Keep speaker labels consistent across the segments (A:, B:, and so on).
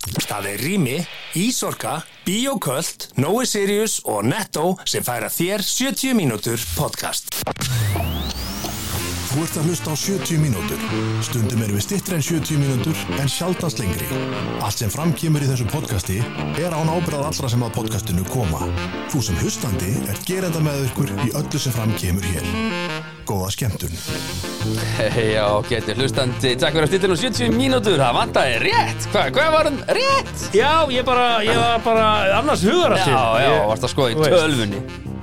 A: Það er Rými, Ísorka, Bíoköld, Nói Sirius og Netto sem færa þér 70 mínútur podcast.
B: Þú ert að hlusta á 70 mínútur. Stundum erum við stittri en 70 mínútur en sjaldast lengri. Allt sem framkýmur í þessu podcasti er án ábyrðað allra sem að podcastinu koma. Þú sem hlustandi er gerenda með ykkur í öllu sem framkýmur hér. Góða skemmtun.
C: Já, getur hlustandi, takk fyrir að stilla nú 70 mínútur, það vantaði rétt, hvað hva var hann rétt?
D: Já, ég bara, ég var bara annars hugar
C: Já,
D: að til
C: já,
D: Ég-
C: varst að skoða í
D: þú veist.
C: tölvunni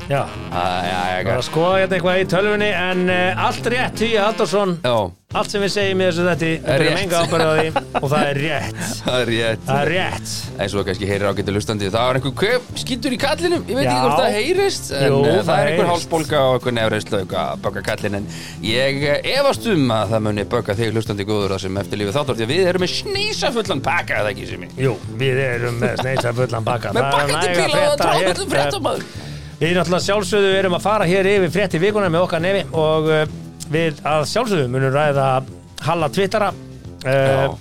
D: Já,
C: Æ, já, já,
D: bara að
C: já,
D: skoða hérna eitthvað í tölvunni En uh, allt rétt, Tíja Haldarsson
C: já,
D: Allt sem við segjum í þessu þetti Við
C: Er
D: byrjum
C: rétt.
D: enga ábyrgð á því Og það er rétt
C: það er rétt
D: Það er rétt
C: Eins og þú kannski heyrir á getur hlustandi, það var einhver kvöp, skýtur í kallinum, ég veit
D: Já.
C: ekki hvort það heyrist En
D: Jú,
C: eh, það,
D: það
C: er einhver
D: heyrist.
C: hálsbólga og einhver nefreislu og eitthvað að bögga kallin En ég eh, efast um að það muni bögga þig hlustandi góður það sem eftirlífi þáttur Því að við erum með snísa fullan pakka, er það ekki sem
D: Jú, við erum með sneisa fullan bakka
C: Með
D: Það er
C: bakkandi
D: næg
C: bíla
D: að
C: og
D: frétta hér.
C: tráðullum fréttamaður
D: Við náttúrulega sjálfsögðu erum að fara hér yfir frétti vikuna með okkar nefi og uh, við að sjálfsögðu munum ræða Halla Twittara uh,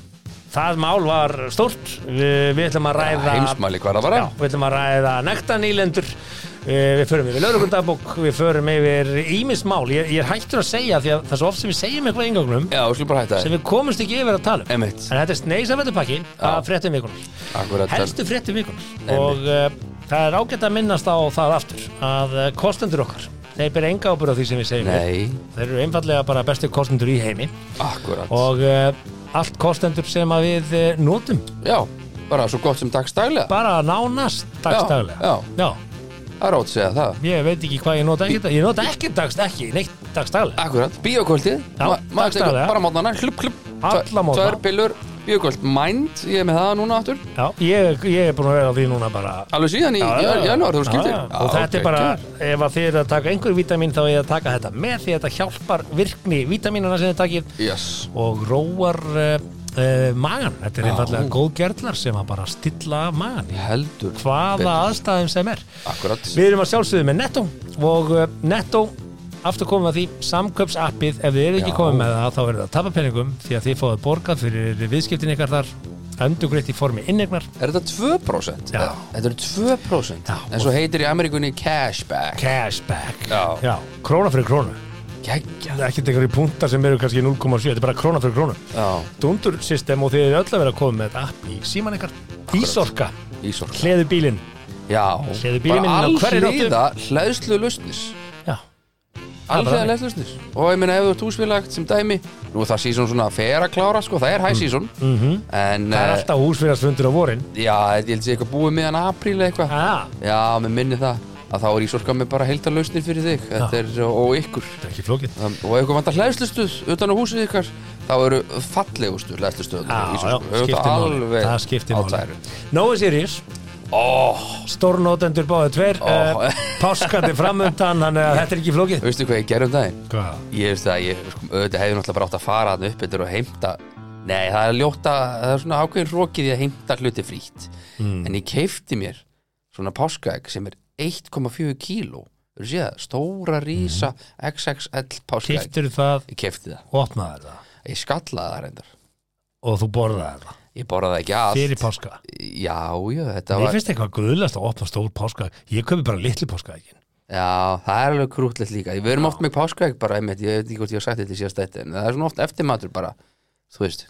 D: Það mál var stórt Við, við ætlum að ræða
C: Heimsmæli hvað það bara
D: Já, við ætlum að ræða nektanýlendur Við förum yfir laurugundabók, við förum yfir ímismál, ég, ég er hættur að segja því að það er svo oft sem við segjum eitthvað engangum
C: Já, skulum bara hætta
D: sem
C: þér
D: við komumst ekki yfir að tala um
C: Einmitt.
D: en þetta er sneisafættupakki
C: Já.
D: að fréttum vikunar
C: Akkurat,
D: helstu fréttum vikunar
C: Einmitt.
D: og uh, það er ágætt að minnast á það aftur að uh, kostendur okkar þeir byrja enga ábyrð á því sem við segjum
C: Nei,
D: þeir eru einfallega bara bestu kostendur í heimi
C: akkurat
D: og uh, allt kostendur sem að við uh, notum
C: Já, bara svo gott sem dagstælega
D: bara nánast dagstaglega
C: Já,
D: já.
C: Það er ótt að segja það
D: ég veit ekki hvað ég nota ekkert ég nota ekkert dagst, ekki, neitt dagstaglega
C: Akkurat, bíókvöldið
D: Já,
C: Ma- maður tekur
D: dagsdaglega.
C: Bara mótnana, hlup, hlup
D: Alla
C: tvær-
D: morgna.
C: Tvær pillur, bíókvöld, mind Ég er með það núna aftur
D: já, ég, ég er búin að vera á því núna bara
C: Alveg síðan í
D: Já, já, já.
C: janúar, þú
D: Já,
C: skildir
D: já. og þetta er bara, ef að þið eru að taka einhver vítamin þá er ég að taka þetta með því að þetta hjálpar virkni vítaminuna sem þið takir
C: Yes,
D: og róar uh, uh, magan, þetta er
C: Já.
D: einfallega góð gerðlar sem að bara stilla af magan í
C: heldur
D: hvaða
C: betur.
D: aðstæðum sem er
C: Akkurat
D: Við erum að sjálfsögðu með Netto og uh, Netto aftur komum að því samköpsappið, ef þið eru ekki
C: Já.
D: komið með það þá verður það að tapa peningum því að þið fáið borgað fyrir viðskiptin ykkar þar endugreitt í formi innegnar
C: Er þetta 2%?
D: Já.
C: Þetta eru 2%
D: Já,
C: En svo heitir í Ameríkunni cashback
D: cashback
C: Já.
D: króna fyrir krónu
C: Kækja
D: Það er ekkert einhverjir punktar sem eru kannski 0,7 þetta er bara króna fyrir krónu
C: Já,
D: Dundur system og þið eru öll að vera að koma með þetta app í síman ykkar Ísorka,
C: ísorg
D: hleður bílinn
C: Já,
D: Hleður bílinn
C: bara
D: minn á hverri nóttu.
C: allhliða hlæðslu lustnis
D: Já,
C: Alhliða
D: bara þannig.
C: leðslusnir Og ég meina ef þú ert húsfélagt sem dæmi Nú er það sísón svona fer að klára sko Það er high season -hmm. En
D: Mm. Mhm. það er
C: eh,
D: alltaf húsfélagsfundur á vorin
C: Já, ég held að sé eitthvað búið meðan apríl eða eitthvað
D: ah,
C: Já, mér minni það Að þá er ísorka með bara heilta lausnir fyrir þig Þetta er og ykkur
D: Það er ekki flókið
C: Um, Og ef ykkur vantar hlæðslustuð utan á húsið ykkar Þá eru fallegustu hlæðslustuð
D: Já, já, skiptir máli Það skiptir máli Nói Sirius,
C: Ó,
D: stórnótendur báðu tver
C: Ó.
D: oh. uh, Páskandi framöndan, þannig að þetta er ekki flókið
C: veistu hvað ég gerum daginn?
D: Hvað?
C: Ég veist að ég, sko, auðvitað hefði náttúrulega bara átt að fara hann upp yfir og heimta Nei, það er ljóta, það er svona ákveðin rokið í að heimta hluti frítt
D: Hmm.
C: En ég keifti mér svona páskaegg sem er 1,4 kíló Þú séð það,
D: Hmm.
C: stóra rísa XXL páskaegg
D: Kiftur það
C: Ég keifti það,
D: og opnaðir það
C: ég skallaði það reyndar
D: og þú borðaðir það
C: Ég borðaði ekki allt
D: fyrir páska
C: Já, já, þetta
D: Mér
C: var
D: finnst eitthvað guðlast að opna stór páska Ég köpi bara litlu páska
C: Já, það er alveg krútlegt líka Við erum oft með páskaegg bara, einmitt, ég veit ekki hvort ég hef sagt þetta í síðast þetta En það er svona oft eftirmatur bara, þú veist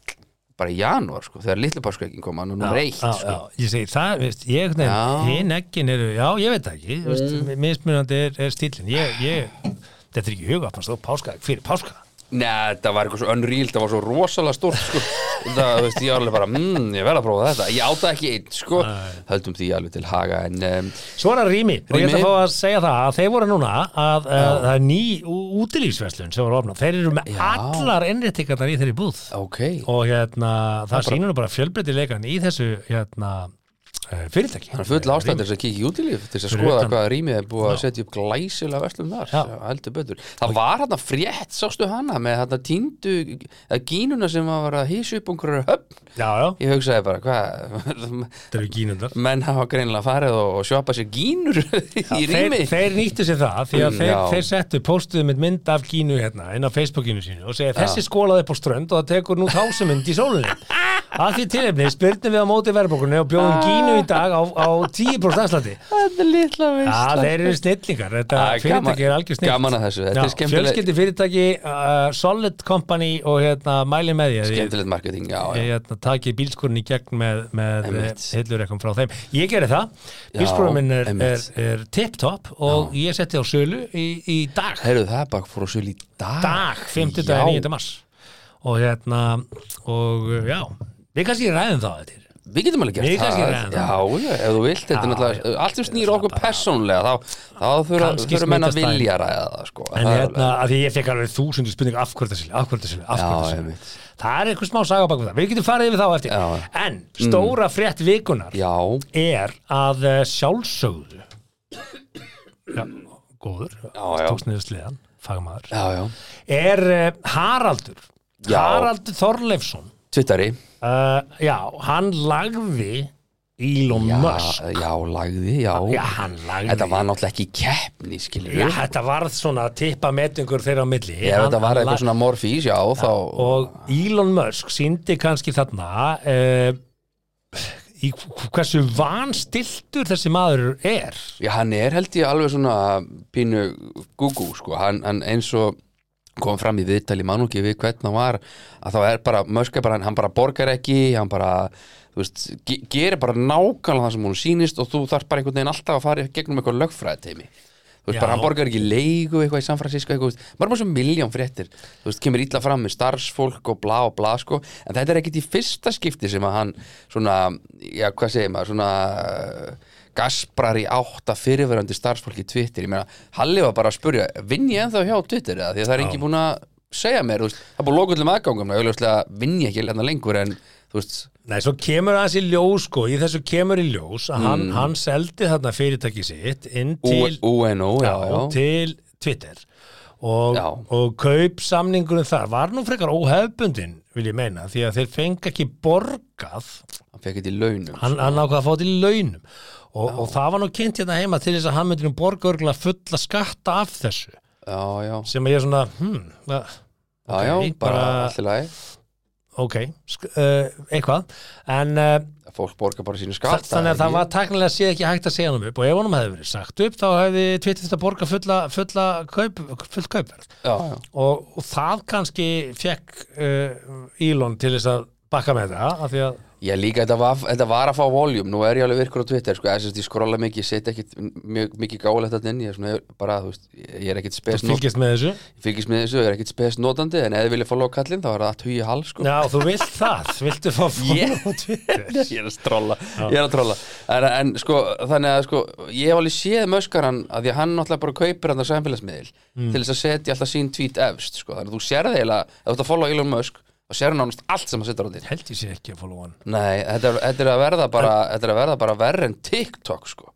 C: bara í janúar, sko, þegar litlu páskaeggin koma nú nummer eitt,
D: já,
C: sko
D: já, ég segi það, veist, ég
C: Já. Mm.
D: hinn ekkin eru, já, ég veit það ekki þú veist, mismunandi er, er stílin ég, ég, þetta er ekki huga stóð páska, fyrir páska
C: Nei, þetta var eitthvað svo unreal, það var svo rosalega stórt sko. það, þú veist, ég var alveg bara mmm, ég verð að prófa þetta, ég áta ekki einn sko. höldum því alveg til haga en um,
D: Svo er það Rými, og ég
C: Rými.
D: ætla að fá að segja það að þeir voru núna að uh, það er ný útilífsverslun sem voru ofna þeir eru með
C: Já.
D: allar innréttingarnar í þeirri búð
C: ok,
D: og hérna, það sýnur nú bara fjölbreytileikan í þessu hérna, uh, fyrirtæki
C: þannig full ástættir þess að kíkja í útilíf til þess að
D: Fyrir
C: skoða
D: utan-
C: hvaða rýmið er búið að setja upp glæsilega verslum þar,
D: Já.
C: Já, heldur betur það var hann frétt, sástu hana með hann týndu, að gínuna sem var að hísu upp einhverju höfn
D: Já, já,
C: ég hugsaði bara, hvað
D: þetta eru gínundar
C: menn hafa greinilega farið og, og sjoppa sér gínur í
D: þeir,
C: rými
D: þeir nýttu sér það því að
C: Mm,
D: þeir,
C: já.
D: þeir settu postuðu með mynd af Gínu hérna inn á Facebookinu sínu og segja þessi skólaði upp á strönd og það tekur nú tásumund í sólinni að því tilefni spyrnum við á móti verðbókunni
C: Ah.
D: og bjóðum gínu í dag á, á 10% afslætti
C: Þetta er litla
D: Já, þeir eru snillingar, þetta
C: Það er
D: fyrirtæki
C: Ah, gaman-
D: er algjör snill
C: gaman að þessu, þetta er skemmtileg-
D: Fjölskyldi fyrirtæki, uh, solid company og hérna mæli með því að þið-
C: Skemmtilegt marketing, já, já.
D: ég hérna, taki bílskurinn í gegn með, með
C: Einmitt.
D: hillur eitthvað frá þeim ég gerði það, bílskurinn minn er, er,
C: einmitt.
D: er tip-top og ég setti á sölu í, í dag
C: Heyrðu það er bara fór á sölu í dag
D: dag, 50. dag,
C: Já.
D: 9. mars og hérna og já, við kannski ræðum það þetta
C: Við getum alveg
D: Við
C: gert
D: kannski
C: það
D: ræðum
C: Já, já, ef þú vilt, þetta er
D: Já,
C: náttúrulega Allt sem snýr okkur
D: bara-
C: persónlega Þá, þá þurfa-
D: Kannski
C: þurfa menn að
D: smitast
C: vilja ræða það sko.
D: en
C: það er
D: hérna, af því ég fekk alveg þúsundu spurningu af hverju það sili, af hverju það sili, af
C: Já,
D: hverju það sili
C: einmitt.
D: það er einhver smá saga bak við það, við getum farið yfir þá á eftir
C: Já, já.
D: en stóra frétt vikunar
C: alveg- Já,
D: er að eh, sjálfsögðu já, góður
C: Já, já.
D: tókst niður sliðan, fagmaður
C: já, já
D: er eh, Haraldur
C: Já.
D: Haraldur Þorleifsson
C: Twitteri
D: uh, já, hann lagði Elon
C: já,
D: Musk
C: já, lagði, já,
D: já, hann lagði
C: Þetta var náttúrulega ekki í keppni, skilur
D: já, þetta varð svona tippa metingur þeirra á milli
C: Ef
D: Hann-
C: þetta var
D: hann
C: eitthvað
D: lag-
C: svona morfís, já, þá
D: og Elon Musk síndi kannski þarna uh, í hversu vanstiltur þessi maður er
C: Já, hann er held ég alveg svona pínu gúgú, sko, hann, hann eins og kom fram í viðtali mannúki við hvern hann var, að þá er bara Möska bara, hann bara borgar ekki, hann bara þú veist, ge gerir bara nákvæmlega það sem hún sýnist og þú þarf bara einhvern veginn alltaf að fara í gegnum eitthvað lögfræði teimi þú veist,
D: Já.
C: bara hann borgar ekki leigu eitthvað í San Francisco eitthvað, þú veist, maður er bara svo miljón fréttir þú veist, kemur illa fram með starfsfólk og bla og bla, sko, en þetta er ekkit í fyrsta skipti sem að hann svona, já, hvað segir maður, svona uh, gasprar í átta fyrirverandi starfsfólki í Twitter, ég meina, Halli var bara að spurja, vinn ég ennþá hjá Twitter eða, því að það er ekki búin að segja mér, þú veist, það er búin að loka öllum aðgangum, auðvitað vinn ég ekki hérna lengur en, þú veist,
D: Nei, svo kemur aðeins í ljós sko, í þessu kemur í ljós að hann, hann seldi þarna fyrirtæki sitt inn til,
C: U- UNO, já,
D: já,
C: já,
D: til Twitter og,
C: Já.
D: og kaup samningurinn þar var nú frekar óhefbundin vil ég meina, því að þeir fengi ekki borgað,
C: hann fekk eitthvað í launum,
D: hann, hann ákvað að fá til launum og, og það var nú kynnt hérna heima til þess að hann myndi nú borga örgulega fulla skatta af þessu
C: já, já,
D: sem að ég er svona, hmm, ja,
C: já, já,
D: ok,
C: bara
D: bara-
C: allt í lagi.
D: ok, sk- uh, eitthvað en uh,
C: að fólk borga bara sínu
D: Þa-
C: skatta
D: þannig að það
C: ekki?
D: var teknilega séð ekki hægt að segja hann upp og ef honum hefði verið sagt upp þá hefði Twitter þetta borga fulla, fulla kaup, fullt kaupverð
C: já, já.
D: og, og það kannski fekk uh, Elon til þess að bakka með það af því að
C: Ég líka, þetta var, þetta var að fá voljum nú er ég alveg virkur á Twitter, sko, þess að ég skrolla mikið ég set ekkit mjög, mikið gálega þetta inn ég er svona, bara, þú veist, ég er ekkit spes
D: þú fylgist með þessu
C: not- fylgist með þessu, ég er ekkit spes notandi en ef þið vilja fá lokallinn, þá er það tugi hal, sko
D: Já, þú vilt það, viltu fá fólk
C: Ég-
D: á Twitter
C: ég er að trolla, ég er að trolla en, en sko, þannig að sko ég hef alveg séð möskaran að því að hann náttúrulega bara kaupir hann að samfélagsmiðil
D: Mm.
C: til þess að setja alltaf sín tweet efst sko. þannig að þú sérði eiginlega, ef þú ert að follow Elon Musk þá sérði nánast allt sem að setja á þinn
D: Held ég sé ekki að follow hann
C: Nei, þetta er, þetta er að verða bara þetta er að verða bara verri en TikTok sko.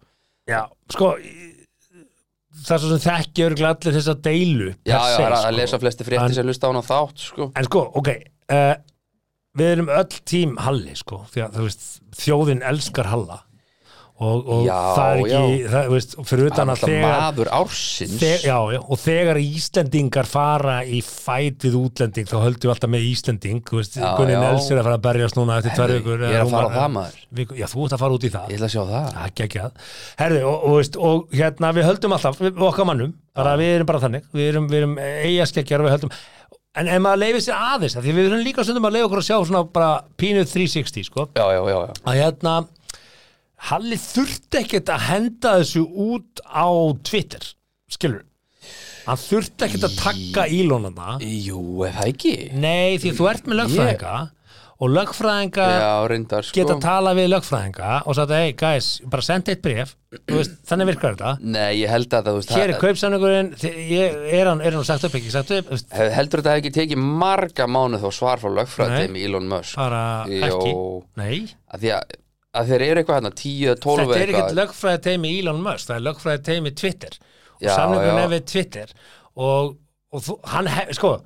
D: Já, sko í- það er svo sem þekki örgulega allir þessa deilu
C: Já,
D: per
C: já,
D: se,
C: er að
D: sko.
C: lesa flesti
D: En-
C: frétti sem hlusta á hana þátt sko.
D: En sko, ok uh, Við erum öll tím Halli sko, því að þú veist, þjóðin elskar Halla og, og
C: Já,
D: það er ekki
C: já.
D: það, þú veist, fyrir
C: Það er
D: utan að
C: alltaf
D: þegar
C: maður ársins
D: Þeg, já, já, og þegar Íslendingar fara í fæt við útlending þá höldum við alltaf með Íslending þú veist,
C: Já,
D: Gunni
C: já.
D: Nels er að fara að berjast núna eftir tvær
C: Herri,
D: vikur eh,
C: ég er að fara á það, maður.
D: viku, Já, þú ert að fara út í það
C: Ég ætla að sjá það
D: Það er geggjað. Herði, og, og, veist, og hérna við höldum alltaf, við, við okkar mannum, bara við erum bara þannig, við erum, við erum eigaskeggjar og við höldum, en ef maður leifir sér aðeins, af því við erum líka stundum að leifa okkur að sjá svona bara pínu 360, sko,
C: Já, já, já, já.
D: að hérna, Halli þurfti ekkert að henda þessu út á Twitter, skilur, hann þurfti ekkert að taka ílónana,
C: Jú, ef það ekki
D: nei, því þú ert með lögfræðinga og lögfræðinga
C: Já, reyndar sko
D: geta talað við lögfræðinga og sagt hey guys, bara senda eitt bref Þú veist, þannig virkar þetta
C: Nei, ég held að það, þú veist
D: hér er
C: það-
D: kaupsamningurinn, þi- ég- er hann, er hann sagt upp ekki sagt upp, Þú veist,
C: hef- Heldur þetta hef ekki tekið marga mánuð þá svar frá lögfræðið
D: Nei.
C: með Elon Musk
D: bara ekki
C: Jó.
D: nei,
C: að því að, að þeir eru eitthvað hérna 10, 12
D: þetta er ekkert
C: eitthvað
D: lögfræði teimi Elon Musk, það er lögfræði teimi Twitter og
C: Já,
D: samningurinn
C: já.
D: er við Twitter og, og þú, hann, hef, sko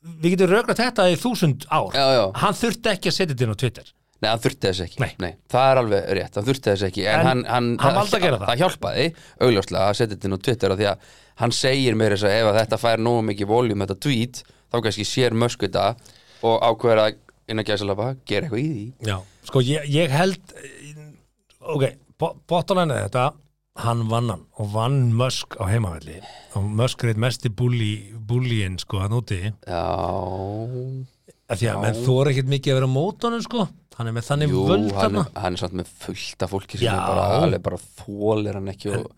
D: við getum rögnat þetta í þúsund ár
C: Já, já.
D: hann þurfti ekki að setja þetta inn á Twitter
C: Nei, hann þurfti þess ekki
D: Nei.
C: Það er alveg rétt, hann þurfti þess ekki En,
D: En
C: hann, hann,
D: hann valdi að gera það.
C: Það hjálpaði, augljóslega, að setja þetta nú Twitter af Því að hann segir mér þess að ef að þetta fær nógu mikið voljum þetta tweet Þá kannski sér mösku þetta og ákveður að inn að gæsa lafa, gera eitthvað í því
D: Já, sko ég, ég held ok, bottolan er þetta hann vann hann og vann Musk á heimavelli og Musk reyð mest í búlíin sko hann úti
C: Já,
D: af því að
C: Já.
D: menn þóra ekkert mikið að vera á mótunum sko hann er með þannig
C: jú,
D: völd
C: hann,
D: þarna
C: er- hann er samt með fullt af fólki sem
D: Já.
C: er bara, alveg bara þólir hann ekki og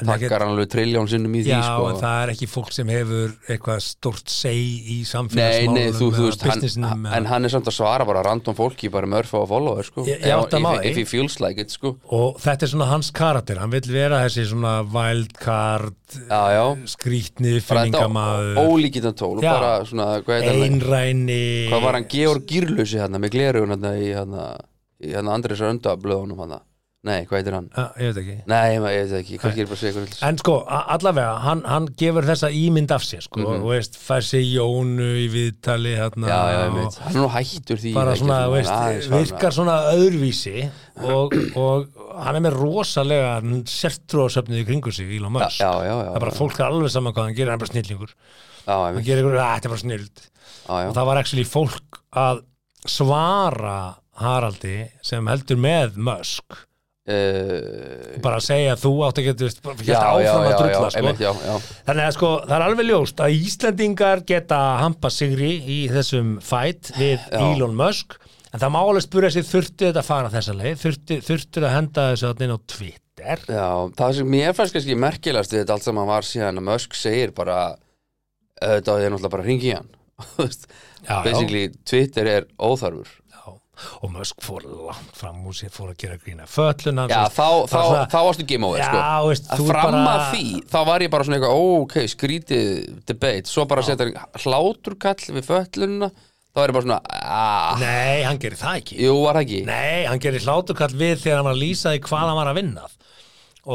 D: en
C: takkar
D: ekkert-
C: hann alveg triljón sinnum í því
D: Já,
C: sko.
D: en það er ekki fólk sem hefur eitthvað stort seg í
C: Nei,
D: samfélagsmálum
C: nei, þú, þú
D: eða
C: veist, hann,
D: businessnum um, uh, eða-
C: en hann er samt að svara bara random fólki bara með örfa og follower, sko
D: Ég- ég átta
C: Ef-
D: mig á
C: if,
D: því.
C: if he feels like it, sko
D: og þetta er svona hans karakter hann vil vera þessi svona wildcard
C: Já, já,
D: skrítni
C: bara þetta
D: finningamæður
C: ólíkitan tól
D: Já.
C: bara svona, hvað heitir hann
D: einræni
C: hvað var hann, Georg Gýrlusi hann með glerugun hann í hann í hann Andrés Öndablöðunum hann nei, hvað heitir hann?
D: Ah, ég veit ekki
C: Nei, ma- ég veit það ekki, kannski er bara að segja eitthvað
D: En sko, a- allavega, hann, hann gefur þessa ímynd af sér,
C: Mhm.
D: sko, og veist, fær sér Jónu í viðtali, hérna,
C: Já, já, ég
D: og
C: veit, hann er nú hættur því
D: bara
C: ekki,
D: svona,
C: hann er
D: veist,
C: aðeins farinn að-
D: virkar svona öðruvísi og, og hann er með rosalega sértrúasöfnið í kringu sig, Elon Musk.
C: Já, já, já,
D: Það er bara
C: já.
D: fólk er alveg saman hvað hann gerir, hann er bara snillingur.
C: Já,
D: Hann
C: einmitt,
D: gerir ykkur, "Ah, þetta er bara snild.
C: já, já,
D: Og það var actually fólk að svara Haraldi sem heldur með Musk,
C: Eh,
D: bara að segja að þú átt að geta, veist, bara
C: já, já,
D: hérna áfram
C: já,
D: að
C: já,
D: drulla, sko.
C: einmitt, já, já
D: Þannig að sko, það er alveg ljóst að Íslendingar geta hampa sigri í þessum fætt við Elon Musk en það má alveg spura sig þurfti þetta að fara þessa leið, þurfti, þurfti að henda þessu þarna inn á Twitter
C: Já, það sem mér fannst kannski merkilegast við þetta allt saman var síðan að Musk segir bara auðvitað á ég náttúrulega bara hringi í hann Þú veist,
D: Já, já.
C: basically Twitter er óþarfur
D: Já. og Musk fór langt fram úr sér fór að gera grína fölluna
C: Já, þá, þá, þá varstu game over
D: Já,
C: sko.
D: veist,
C: Að
D: þú er
C: fram
D: bara-
C: að því, þá var ég bara svona eitthvað ó, ok, skrítið debate svo bara setja hláturkall við föllunina þá er ég bara svona aah,
D: Nei, hann gerir það ekki
C: jú, var það ekki
D: Nei, hann gerir hlátukall við þegar hann var að lýsa því hvað hann var að vinna að.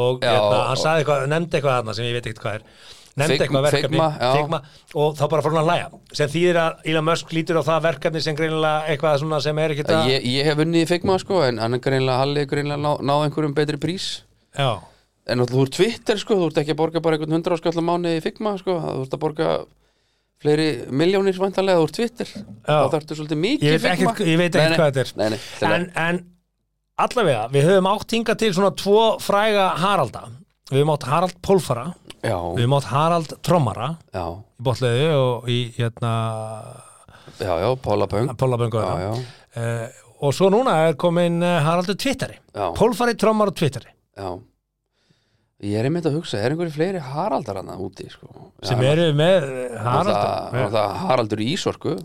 D: og
C: Já,
D: hérna, hann
C: og-
D: sagði eitthvað, nefndi eitthvað þarna sem ég veit ekkert hvað er nefndi
C: Fig-
D: eitthvað verkefni
C: Figma, já.
D: og þá bara fór hann að læja sem þýðir að Elon Musk lítur á það verkefni sem greinilega eitthvað svona sem er ekkert að
C: ég, ég hef unnið í Figma sko, en hann er greinlega Halli er greinlega ná, náð einhverjum betri prís
D: Já,
C: En náttúrulega þú ert Twitter sko, þú ert ekki að borga bara einhvern hundra áskall á mánu í Figma sko, þú ert að borga fleiri miljónir vantarlega úr Twitter
D: Já.
C: þá þarftu svolítið mikið
D: ég veit ekkert, ég veit ekkert hvað þetta
C: Nei,
D: er
C: nei, til
D: en, en allavega, við höfum átt hingað til svona tvo fræga Haralda við höfum átt Harald Pólfara
C: að
D: við
C: já,
D: höfum átt Harald Trommara
C: já,
D: í Bóttleðu og í hérna
C: já, já, Pála Pöng
D: Pólaböngu
C: Já, já,
D: Uh, og svo núna er komin uh, Haraldur Twitteri
C: Já.
D: Pólfari, Trommar og Twitteri
C: já Ég er einmitt að hugsa, er einhverju fleiri Haraldar hann úti sko Já,
D: sem eru með uh,
C: náttúrulega-
D: Haraldur
C: náttúrulega Haraldur í Ísorku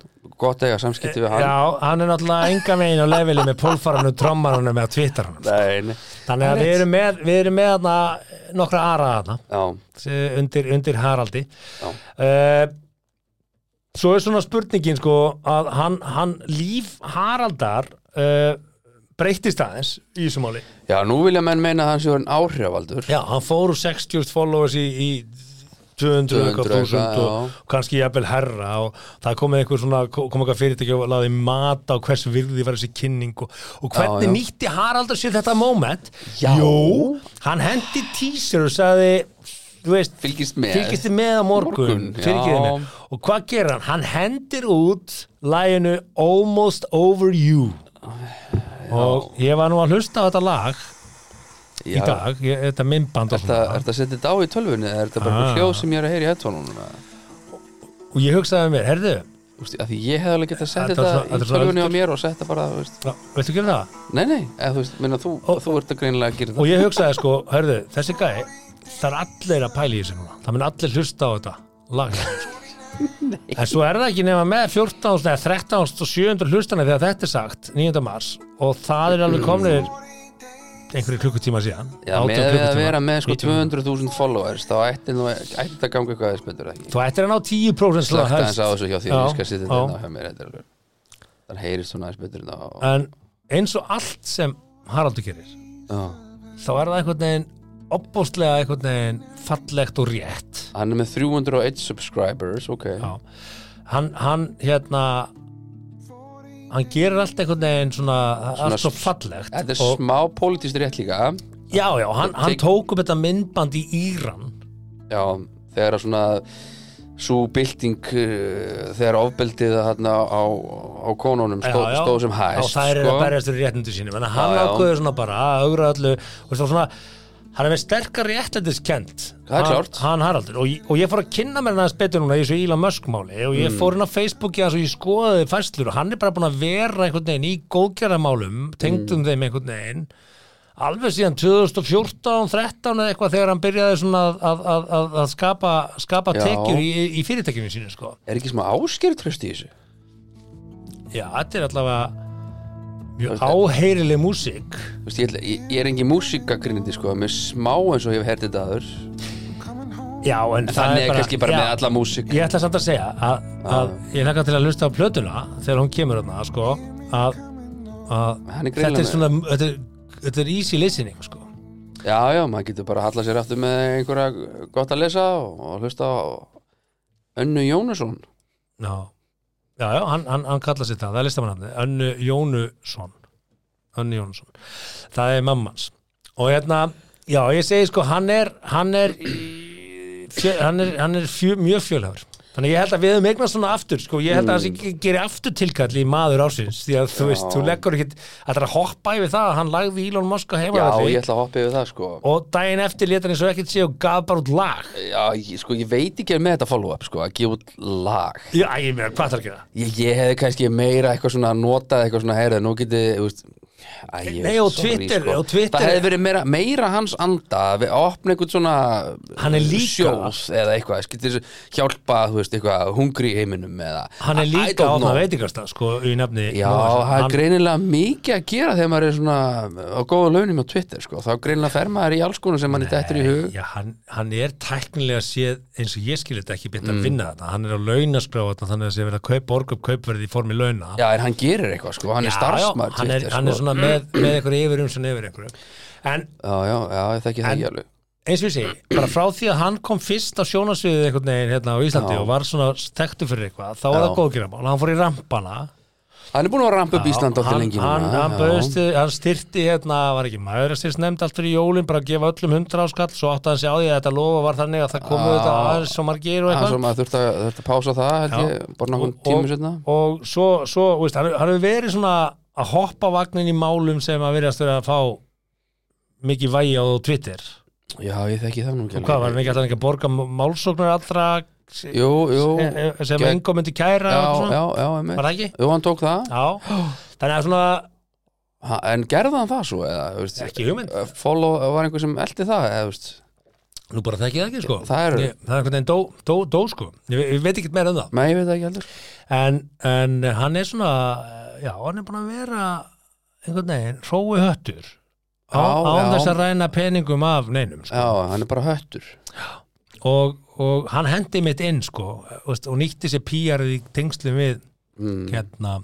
C: gott að eiga samskipti við hann
D: Já, hann er náttúrulega enga megin á leveli með Pólfaranum, Trommaranum eða Twitteranum
C: Nei, nei,
D: þannig að við erum með, við erum með hana, nokkra ara hana,
C: já,
D: undir, undir Haraldi
C: Já.
D: uh, Svo er svona spurningin sko að hann, hann líf Haraldar uh, breyttist aðeins í þessu máli
C: já, nú vilja menn meina að hann sé orðinn áhrifaldur
D: Já, hann fór úr 60 followers í, í 200 eitthvað
C: 200
D: þúsund
C: eitthvað,
D: og kannski jafnvel herra og það kom einhver svona, kom eitthvað fyrirtæki og laði mat á hvers virði var þessi kynning og, og
C: Já,
D: hvernig
C: já.
D: nýtti Haraldur sér þetta moment?
C: Já.
D: Jú, hann hendi teaser og sagði, þú veist,
C: Fylgist með.
D: fylgist þið með á morgun,
C: Morgun, já.
D: fyrirgeðu mér. og hvað gerir hann? Hann hendir út læginu Almost Over You og ég var nú að hlusta á þetta lag í
C: Já.
D: dag, ég, þetta minnband
C: Er
D: og,
C: þetta
D: svona.
C: er þetta að setja þetta á í tölvunni eða er þetta bara
D: Ah.
C: ah. hljóð sem ég er að heyra í headphone-unum eða?
D: og ég hugsaði með mér, herðu
C: Úst, af Því ég hef alveg getað sett
D: Eh, Þetta er
C: þetta
D: svo- þetta
C: í
D: er svo
C: tölvunni á
D: aldur.
C: mér og sett þetta bara þú veist.
D: já, veistu ekki um það?
C: Nei, nei, eða, þú veist, minna, þú, þú ert að greinilega að gera
D: og
C: þetta
D: ég hugsaði sko, herðu, þessi gæ það er allir að pæla í þessu núna það mun allir hlusta á þetta lag sko. en svo er það ekki nema með 14.000 eða 13.700 hlustana þegar þetta er sagt, 9. mars og það er alveg komnir einhverju klukkutíma síðan
C: Já, með
D: 18
C: við að
D: klukkutíma,
C: vera með sko
D: 19.
C: 200.000 followers þá ætti nú- ætti þetta að ganga eitthvað aðeins betur eða ekki
D: þú ættir að ná 10% slá
C: Slakta eins á þessu hjá því
D: Já,
C: ég skal setja þetta
D: já.
C: inn á hjá mér þetta er alveg- Þannig heyrist hún aðeins betur en á
D: en eins og allt sem Haraldur gerir
C: Já.
D: þá er það einhvern veginn opbóstlega einhvern veginn fallegt og rétt
C: Hann er með 301 subscribers, ok
D: Já. hann, hann hérna hann gerir allt einhvern veginn svona, allt svo fallegt
C: Þetta er
D: og,
C: smá politist rétt líka
D: já, já, hann, hann
C: Tek-
D: tók upp þetta myndband í Íran
C: Já, þegar að svona svo bylting uh, þegar ofbeldið þarna á, á konunum stó,
D: Já, já.
C: stóð sem hæst
D: og þær eru
C: sko.
D: að berjast fyrir réttindu sínum en hann
C: Já, já.
D: ákveður svona bara að augra öllu og svo svona, hann er með sterkar réttlætiskend
C: Það er
D: hann,
C: klárt.
D: hann Haraldur og, ég- og ég fór að kynna mér hann aðeins betur núna í þessu Elon Musk máli og ég
C: Mm.
D: fór inn á Facebooki að svo ég skoðaði fæslur og hann er bara búin að vera einhvern veginn í góðgerðamálum
C: Mm.
D: tengdum þeim einhvern veginn alveg síðan 2014, 13 eða eitthvað þegar hann byrjaði svona að, að, að- að, að skapa, skapa
C: Já.
D: tekjur í, í- í fyrirtækjum sínu sko.
C: er ekki smá ásker tröst í þessu
D: Já, þetta er allavega
C: Þú
D: mjög
C: veist,
D: áheyrileg músík
C: Þú veist, ég, ætla- ég, ég er engin músikagrindi sko, með smá eins og ég hef hertið þetta aður
D: Já, en, það
C: þannig
D: er
C: er
D: bara,
C: kannski bara
D: já,
C: með alla músik
D: Ég ætla samt að segja að, að ég lakka til að hlusta á plötuna þegar hún kemur þarna, sko að, að
C: Hann er
D: þetta
C: greinilega
D: er svona þetta er, þetta er easy listening, sko
C: já, já, maður getur bara að halla sér aftur með einhverja gott að lesa og, og hlusta á Önnu Jónusson
D: Já, já, já hann, hann, hann kallar sér það, það er listamannafni Önnu Jónusson Önnu Jónusson, það er mammans og hérna, já, ég segi sko hann er, hann er í- fjö, hann er, hann er fjö, mjög fjölhafur Þannig að ég held að við hefum eignast svona aftur sko. ég held
C: Mm.
D: að það gerir aftur tilkall í maður ársins því að þú veist, þú leggur ekki ætlar að hoppa yfir það að hann lagði Elon Musk að heima
C: já, ég ætla að hoppa yfir það sko
D: og daginn eftir leta hann eins og ekkert sé og gaf bara út lag
C: já, ég, sko, ég veit ekki með þetta follow-up sko, að gefa út lag
D: Já, ég meina, hvað þarf að gera?
C: ég, ég hefði kannski meira eitthvað svona notað eitthvað svona heyrðu, nú getið þú veist, æ, ég
D: Nei,
C: er
D: og
C: sorry,
D: Twitter-
C: sko.
D: og Twitter-
C: það hefði verið meira, meira hans anda að við opna eitthvað svona
D: Hann er líka-
C: sjóð eða eitthvað, skiltir hjálpa þú veist, eitthvað hungri í heiminum eða,
D: Hann er
C: I- I
D: líka
C: don't
D: á það
C: know.
D: veitingasta sko, í nefni
C: Já, það
D: Nóa.
C: er
D: Hann-
C: greinilega mikið að gera þegar maður er svona á góða launum á Twitter sko. þá greinilega fer maður í alls konar sem mann er dættur í hug
D: Já, hann, hann er tæknilega séð eins og ég skil þetta ekki beint að
C: Mm.
D: vinna þetta hann er á launaskrá þarna þannig að sé verið að kaupa borga upp kaupverði í formi launa
C: Já, en hann gerir eitthvað, sko, hann er starfsmaður
D: hann, er,
C: Twitter,
D: hann er
C: sko.
D: svona með, með einhverju yfirum sem yfir einhverju en
C: Já, já, já, ég þekki það ekki alveg
D: eins og ég segi, bara frá því að hann kom fyrst á sjónasviðið einhvern veginn hérna á Íslandi
C: Já.
D: og var svona tektu fyrir eitthvað þá var
C: Já.
D: það góðgerðamál, hann fór í rampana
C: Hann er búin að rampa upp Ísland átti
D: hann,
C: lengi
D: hann,
C: núna,
D: hann,
C: já.
D: bauðstu, hann styrti hérna, var ekki maður að styrst nefnd allt fyrir jólin, bara að gefa öllum hundra á skall svo átti hann sér á því að þetta lofa var þannig að það komu
C: Já.
D: þetta aðeins svo margir og
C: Það er
D: eitthvað
C: svo maður þurft að, þurft að pása það held
D: Já.
C: ég, bara nokkuð
D: Og-
C: tímu setna
D: og, og svo, svo veist, hann, hann hefur verið svona að hoppa vagnin í málum sem að verðast vera að fá mikið vægi á Twitter
C: Já, ég þekki það nú ekki
D: og hvað, var hann ekki alltaf ekki að borga málsóknar allra sem,
C: Jú, jú,
D: sem
C: gegn-
D: engum myndi kæra
C: já,
D: Eh, og
C: já,
D: svona?
C: já, emmi
D: var það ekki?
C: Jú, hann tók það
D: Já, þannig að svona
C: ha, En gerði hann það svo, eða, þú veist
D: ekki hugmynd
C: eh, Follow, var einhver sem eldi það, eða, þú veist
D: Nú bara þekki ég það ekki sko
C: Það er-
D: ég, það er einhvern veginn dó, dó, dó sko ég, ve- ég veit ekki meira um það
C: Nei, ég veit það ekki heldur
D: en, en hann er svona eh, já, hann er búin að vera einhvern veginn hrói höttur
C: Já,
D: á, án
C: já.
D: þess að ræna peningum af neinum sko.
C: Já, hann er bara höttur
D: og, og hann hendi mitt inn sko og, veist, og nýtti sér píjarið í tengslum við
C: mm,
D: hérna,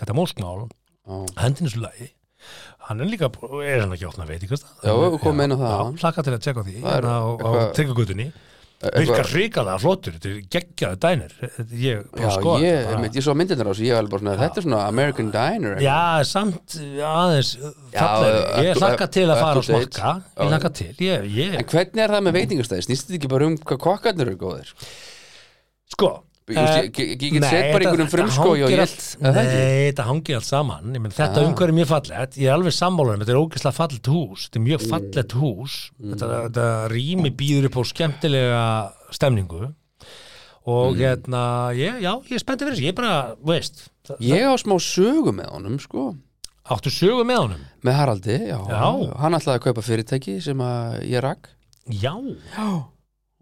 D: þetta móskmál
C: Já,
D: hendinu svo lagi hann er líka, bú- er hann ekki opna veit ekki
C: Já, við komum inn á það.
D: Plaka til að tjekka á því
C: Það er
D: hérna á, á
C: eitthvað-
D: tryggagötunni Virkar hrikalega flottur, þetta er geggjaði dænir Þetta- Ég
C: já
D: bara skoða
C: ég,
D: þetta sko, bara.
C: einmitt, ég svo myndirnar á þessu, ég var alveg bara svona Þetta er svona American Diner eitthvað.
D: Já, samt eh, aðeins
C: Já, eh,
D: fallegri Ég
C: up to-
D: hlakka til að
C: up
D: fara
C: to
D: og smakka
C: date.
D: Ég
C: Já.
D: hlakka til, ég,
C: En
D: ég
C: hvernig er það með veitingastæði? Snýst þetta ekki bara um hvað kokkarnir eru góðir?
D: Sko
C: Ég- ég- ég- ég- ég get sett bara einhverjum frumskói og ég Er það ekki?
D: Nei, þetta hangir allt saman Ég menn, Þetta
C: Ah.
D: umhverju er mjög fallegt Ég er alveg sammálaðum, þetta er ógeðslega fallegt hús Þetta er mjög
C: Mm.
D: fallegt hús þetta, þetta rými býður upp á skemmtilega stemningu Og
C: Mm.
D: hérna, ég, já, ég er spenntið fyrir þessu Ég er bara, þú veist það-
C: Ég á smá sögu með honum sko
D: Áttu sögu með honum?
C: með Haraldi, já,
D: Já.
C: hann ætlaði að kaupa fyrirtæki sem að ég rak
D: Já,
C: já.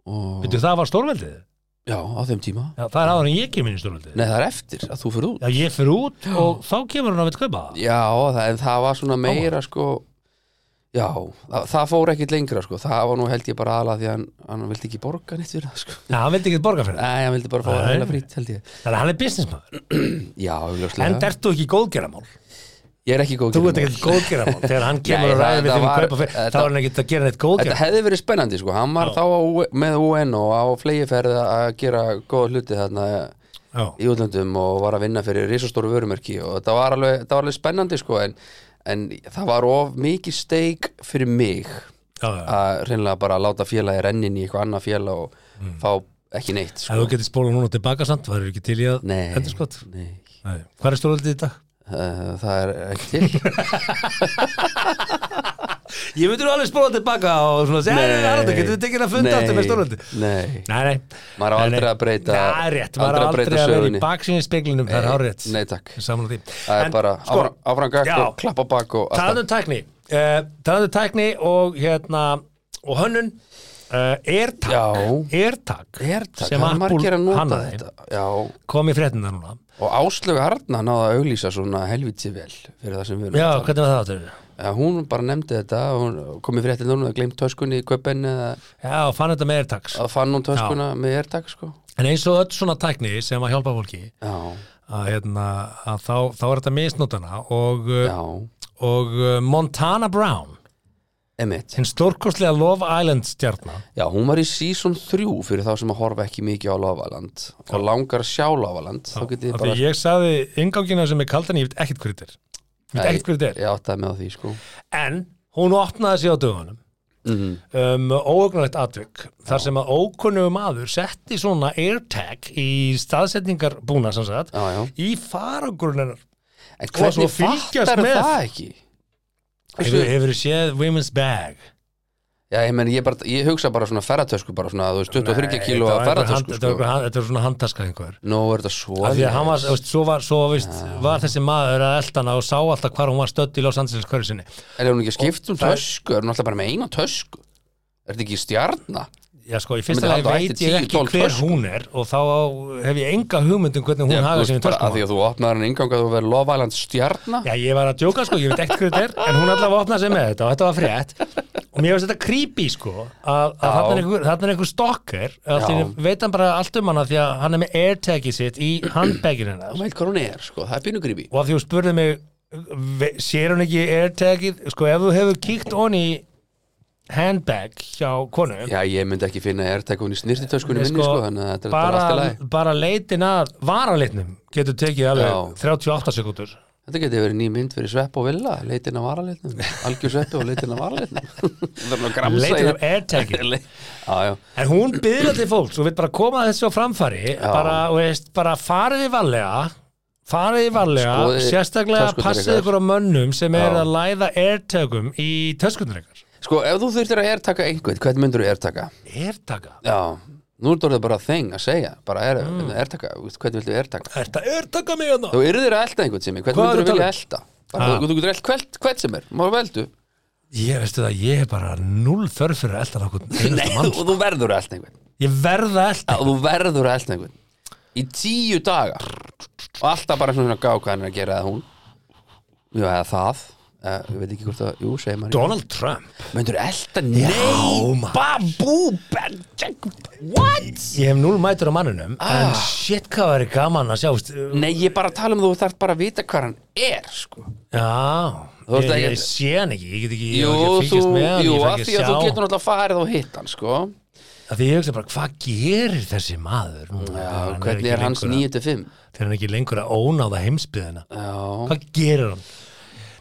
C: og
D: veitu það var stórveldið
C: já, á þeim tíma
D: Já, það er áður en ég kemur inn í stórveldið
C: Nei, það er eftir að þú fyrir út
D: Já, ég fyrir út og þá kemur hann að veit kaupa það
C: Já, það, en það var svona meira sko Já, það, það fór ekkit lengra sko Það var nú held ég bara aðla því að hann, hann vildi ekki borga neitt fyrir það sko
D: Já, hann vildi ekki borga fyrir það
C: Nei, hann vildi bara fá
D: Nei.
C: það heila frýtt held ég
D: Þannig að hann er businessmaður
C: Já, augljóslega
D: En ertu ekki í góðgerðamál?
C: Ég er ekki góð
D: Þú
C: að
D: ert
C: gera
D: ekkert góðgerðamál Þegar hann kemur
C: Nei,
D: og ræðir
C: það-
D: við þeim
C: það
D: að
C: var-
D: kaupa fyrir
C: þetta-
D: Þá er hann ekkert að gera neitt
C: Þetta
D: góðgerð
C: hefði verið spennandi sko, hann var þá á, með UN og á flegiferð að gera góða hluti þarna
D: Já,
C: í útlöndum og var að vinna fyrir risastóru vörumerki og þetta var alveg, þetta var alveg spennandi sko en, en það var of mikið steik fyrir mig
D: já, já Mm.
C: að reynilega bara láta félagi rennin í eitthvað annað félag og fá ekki neitt
D: Ef þú
C: sko.
D: getur spólað núna tilbaka samt, það eru ekki til í að
C: Nei.
D: endur skott.
C: Nei,
D: Hvað er stóröldið í dag?
C: uh, það er ekki til
D: Ég myndur alveg spóla tilbaka og svona segja, "Æ,
C: Nei.
D: Arnaldur, getum við tekið að funda aftur með stóröldi?
C: Nei,
D: Nei, nei.
C: maður á
D: Nei, nei.
C: aldrei að breyta
D: Það er rétt, maður á aldrei að vera í baksinu speglinum, það er hárétt.
C: Nei, takk
D: Ég sammála því.
C: Það er
D: En,
C: bara
D: sko,
C: áfram, áfram gakk
D: já.
C: og klappa bak og allt
D: Talandi um tækni uh, Talandi um tækni og hérna og hönnun uh, AirTag,
C: Já.
D: AirTag
C: Er það,
D: sem
C: það er margir
D: Apple
C: að nota
D: hannaði
C: þetta Já,
D: kom í fréttina núna
C: og Áslögu Arna náða að auglýsa svona helviti vel fyrir það sem við erum
D: Já,
C: að tala um.
D: hvernig var það áttur?
C: Já, Hún bara nefndi þetta og hún komið fyrir þetta núna að glemt töskunni í köpen eða
D: Já, fann þetta með AirTags
C: að fann hún töskuna með ertak sko
D: En eins og öll svona tækni sem að hjálpa fólki
C: Já,
D: að, hérna, að þá, þá er þetta misnótana og, uh,
C: já,
D: og uh, Montana Brown
C: emitt
D: hinn stórkostlega Love Island stjarnar
C: Já, hún var í season 3 fyrir þá sem að horfa ekki mikið á Láfaland og langar að sjá Láfaland þá getið þið
D: Því
C: bara
D: ég saði yngangina sem er kaldan, ég veit ekkert hvað þetta er Ég veit
C: Nei,
D: ekkert hvað þetta er
C: Ég áttaði með á því sko
D: en hún opnaði sig á dögunum
C: Mhm.
D: um, óögnulegt atvik þar sem að ókunnugu maður setti svona airtag í staðsetningar búna sem sagt
C: Já, já
D: í faragrunar
C: En
D: svo
C: hvernig
D: fylgjast
C: fattar
D: með.
C: það ekki? Hversu,
D: hefur, hefur séð women's bag
C: já, ég meni, ég, bara, ég hugsa bara svona ferratösku bara svona, þú veist, 23 kíló að
D: Nei, þetta var einhver hand-
C: ferratösku
D: þetta var
C: sko.
D: einhver hand- þetta var svona handtaska einhver
C: Nú er þetta svo
D: Af því að hann var, þú veist, svo var, svo veist, var þessi maður að eldana og sá alltaf hvar hún var stödd í Los Angeles hverju sinni
C: Er hún ekki að skipta um
D: það er-
C: tösku? Er hún alltaf bara með eina tösku? Er þetta ekki stjarna?
D: Já sko, í fyrsta
C: myndi
D: lagi
C: halda að
D: veit
C: ætti
D: ég
C: 10,
D: ekki
C: 12
D: hver
C: töskur.
D: hún er og þá á- hef ég enga hugmynd um hvernig hún hafa sem í
C: Að því
D: töskum
C: að þú opnaður hann ingang að þú verður lofælans stjarna
D: Já, ég var að djóka sko, ég veit ekkert hvað þetta er en hún allavega opnaði sig með þetta og þetta var frétt og mér finnst þetta creepy sko að, að
C: Já.
D: þarna er einhver, þarna er einhver stalker allt í
C: Já.
D: einu veit hann bara allt um hana því að hann er með airtagið sitt í handbaginu hennar
C: Þú veit hvað hún er, sko, það er pínugrifi
D: og af því hún spurði mig ve- sér hún ekki airtagið sko ef þú hefur kíkt honi í handbag hjá konu
C: Já, ég myndi ekki finna ertekun í snirtitöskunni minni, sko, þannig að þetta er bara allt í
D: bara,
C: lagi
D: bara leitin að varalitnum getur tekið alveg
C: Já.
D: 38 sekúndur
C: Þetta geti verið ný mynd fyrir svepp og villa, leitin að varalitnum, algjör sveppi og leitin að varalitnum Það er nú að gramsa
D: leitin af
C: í-
D: airtagið
C: Le- Já, já,
D: En hún byrða til fólks og vil bara koma þessu á framfari bara, og veist, bara farið í varlega farið í varlega
C: Skoðið
D: sérstaklega
C: töskurnar
D: passið
C: ykkar.
D: ykkur á mönnum sem er
C: Já.
D: að læða airtagum í töskundur ykkar
C: sko, ef þú þurftir að ertaka einhvern, hvern myndur þú ertaka?
D: Airtaga?
C: Já, nú er þetta bara þeng að segja, bara er, mm. ertaka, þú veist, hvern viltu ertaka?
D: Er þetta airtaga mig hérna?
C: Þú yrðir að elta einhvern sem er, hvern
D: Hvað er
C: myndur
D: að
C: þú vilja
D: tala
C: elta? Bara,
D: Ah.
C: þú- Þú getur elt hvert, hvert sem er, maður veldu
D: Ég veistu það, ég er bara null þörf fyrir að elda nokkuð
C: Nei,
D: einasta mann
C: og þú verður að elta einhvern
D: Ég verð að elda
C: að þú verður að elta einhvern í tíu daga og alltaf bara svona gá hvað hann er að gera eða hún já, eða það Eh, ég veit ekki hvort að, jú, segir maður
D: Donald Trump
C: myndur elta, nei,
D: maður.
C: babú ben- check- what?
D: Ég hef null mætur á manninum en
C: Ah.
D: shit hvað væri gaman að sjá veist, uh,
C: nei, ég er bara að tala um þú þarf bara að vita hvað hann er sko.
D: Já,
C: Þú ert
D: ég,
C: ekki-
D: ég sé hann ekki Ég get ekki, ég
C: jú,
D: hef ekki
C: þú,
D: fylgjast með hann,
C: jú,
D: ég fæ
C: að
D: ekki
C: því að þú
D: sjá
C: getur náttúrulega farið og hitt hann sko.
D: að því ég hugsa bara, hvað gerir þessi maður núna
C: já,
D: þegar hann
C: hvernig
D: ekki
C: er hans
D: lengur að-
C: 9-5
D: þegar hann er ekki lengur að ónáða heimsbyðina
C: já,
D: hvað gerir hann?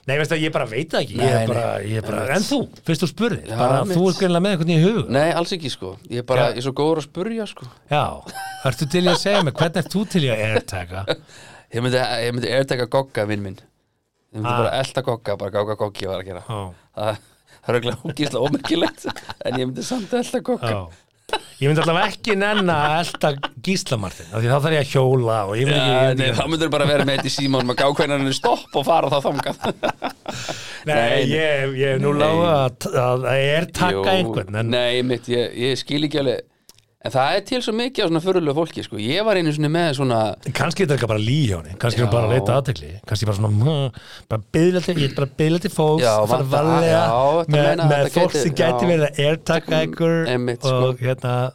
D: Nei, veistu að ég bara veit það ekki ég
C: Nei,
D: er
C: nei.
D: bara, ég er bara, en þú, fyrst þú spurðir
C: Já,
D: bara,
C: mitt.
D: þú ert greinlega með einhvern í hug
C: nei, alls ekki sko. ég er bara,
D: Já.
C: ég er svo góður að spurja sko.
D: já, ertu til í að segja mig hvernig ert þú til í að airtaga?
C: Ég myndi, ég myndi airtaka gogga vinn minn Ég myndi
D: Ah.
C: bara elta gogga, bara gogga goggi var að gera
D: já,
C: Það það er auðvitað ógísla ómerkilegt En ég myndi samt elta gogga
D: já ég myndi allavega ekki nenn að elta gíslamartin, af því þá þarf ég að hjóla og ég myndi ekki,
C: Já,
D: ég
C: nei,
D: myndi
C: þá
D: ekki
C: myndur bara vera með þetta í símanum að gá hvernig hann er stopp og fara þá þangað nei,
D: nei,
C: nei.
D: ég, ég er nú lága að, að airtaga
C: Jú,
D: einhvern en,
C: Nei, mitt, ég, ég skil ekki alveg En það er til svo mikið á svona fyrirlega fólki sko. Ég var einu sinni með svona
D: kannski er þetta eitthvað bara lí hjá henni kannski er hún
C: Já.
D: bara að leita aðtekli kannski bara svona "Mh, bara byðla til, ég er bara að byðla til fólks
C: Já,
D: og fara
C: vanda-
D: varlega
C: já, þetta
D: með,
C: meina að
D: með
C: þetta
D: fólk
C: gæti-
D: sem gæti
C: já.
D: verið að airtaka ykkur
C: Einmitt, sko.
D: og hérna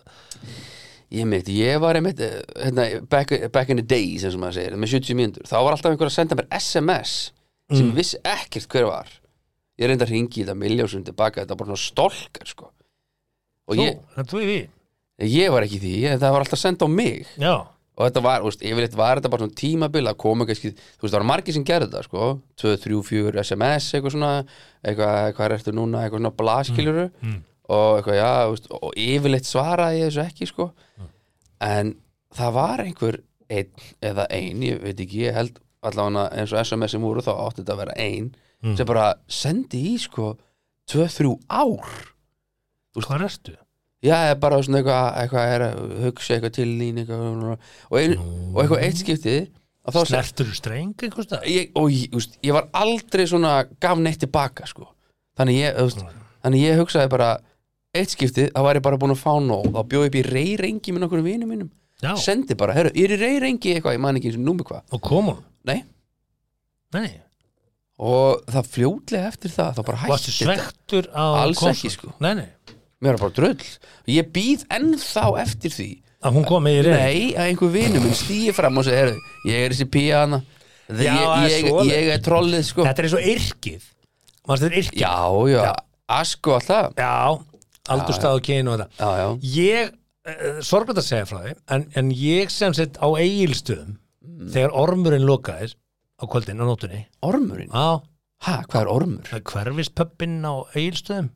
C: Ég mitt, ég var einmitt eh, hérna, back, back in the days, eins og maður segir, með 70 mínútur þá var alltaf einhver að senda mér SMS sem mm. vissi ekkert hver var ég reyndi að ringi í þetta miljósum tilbaka þetta var bara svona stolkar sko. og
D: þú,
C: ég,
D: en þú í því
C: ég var ekki í því, ég, það var alltaf að senda á mig
D: já,
C: og þetta var, úst, yfirleitt var þetta bara svona tímabil að koma kannski, þú veist, það var margir sem gerði þetta sko, 2, 3, 4 SMS eitthvað svona, eitthvað, hvað ertu núna eitthvað svona blaskiljuru og eitthvað, já, þú veist, og yfirleitt svaraði ég þessu ekki sko en það var einhver einn eða ein, ég veit ekki ég held allavega eins og SMS sem voru þá átti þetta að vera ein sem bara sendi í sko 2-3 ár
D: Hvað ertu?
C: já, eða bara svona eitthvað eitthvað er að hugsa eitthvað til þín eitthvað, og, ein, og eitthvað eitt skipti og þá sem
D: Snertur streng einhvers það?
C: ég, og ég, úst, ég var aldrei svona gaf neitt tilbaka sko. þannig, ég, úst, þannig ég hugsaði bara eitt skiptið, þá var ég bara búin að fá nóg þá bjóði upp í reyrengi með nokkur vinum mínum
D: Já,
C: sendi bara, herru, ég er í reyrengi eitthvað, ég man ekki eins og númi hvað,
D: og kom hún?
C: nei
D: Nei,
C: og það fljótlega eftir það, þá bara
D: varstu
C: hætti þetta
D: svektur á
C: Alls
D: konsul?
C: ekki, sko.
D: Nei, nei,
C: mér var bara drull, ég býð ennþá eftir því,
D: að hún kom með í reynd
C: nei, að einhver vinum minn stýi fram og segi, herru, ég er þessi píana ég,
D: Já, það er
C: ég, ég,
D: svoleiðis.
C: ég er trollið sko,
D: Þetta er eins og yrkið Varstu þetta yrkið?
C: já, já sko, asko alltaf,
D: Já, aldurstað og kynu og þetta
C: já, já
D: Ég, uh, sorglætt að segja frá því en, en ég sem sett á eigilstöðum þegar ormurinn lokaðir á kvöldin á nótunni
C: Ormurinn?
D: á
C: Hæ, hvað er ormur?
D: hverfispöppin á eigilstöðum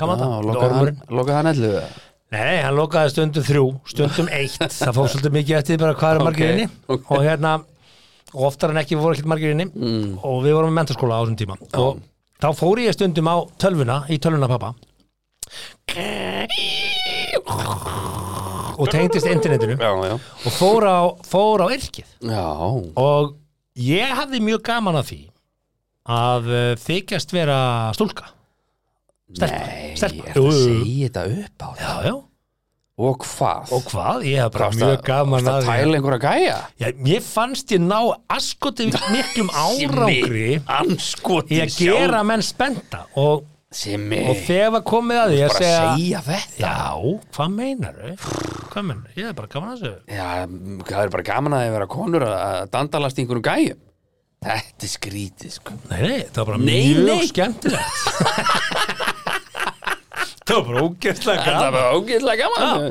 D: gaman
C: Já,
D: það,
C: lokaði hann,
D: ormurinn
C: lokaði hann ellu eða?
D: Nei, hann lokaði stundum þrjú, stundum eitt það fór svolítið mikið eftir því bara hvað er
C: Ok,
D: margir inni
C: ok.
D: og hérna, og oftar en ekki voru ekkert margir inni
C: Mm.
D: og við vorum í mentaskóla á þessum tíma og þá fór ég stundum á tölvuna, í tölvuna pappa og tengdist internetinu
C: Já, já
D: og fór á, fór á yrkið
C: Já,
D: og ég hafði mjög gaman að því að eh, þykjast vera stúlka stelpa,
C: nei,
D: stelpa.
C: er það að
D: Jú, jú, jú.
C: segja þetta upp á það
D: Já, já
C: Og hvað?
D: Og hvað? Ég hef bara
C: Varstu
D: mjög gaman
C: varstu
D: að
C: að tæla einhverja gæja?
D: Já, mér fannst ég ná askoti miklum árangri
C: Anskoti
D: í að gera menn spenta og,
C: Simmi
D: og þegar var komið að því að
C: Bara
D: segja,
C: segja þetta
D: já, hvað meinar Hvað meinar? Ég hef bara gaman að þessu
C: Já, það er bara gaman að þið vera konur að- að dandalast í einhverjum gæjum Þetta er skrítið, sko
D: Nei, nei, það var bara
C: Nei,
D: mjög
C: nei.
D: skemmtilegt Það var bara
C: Það
D: ógeðslega
C: er
D: gaman
C: bara ógeðlega gaman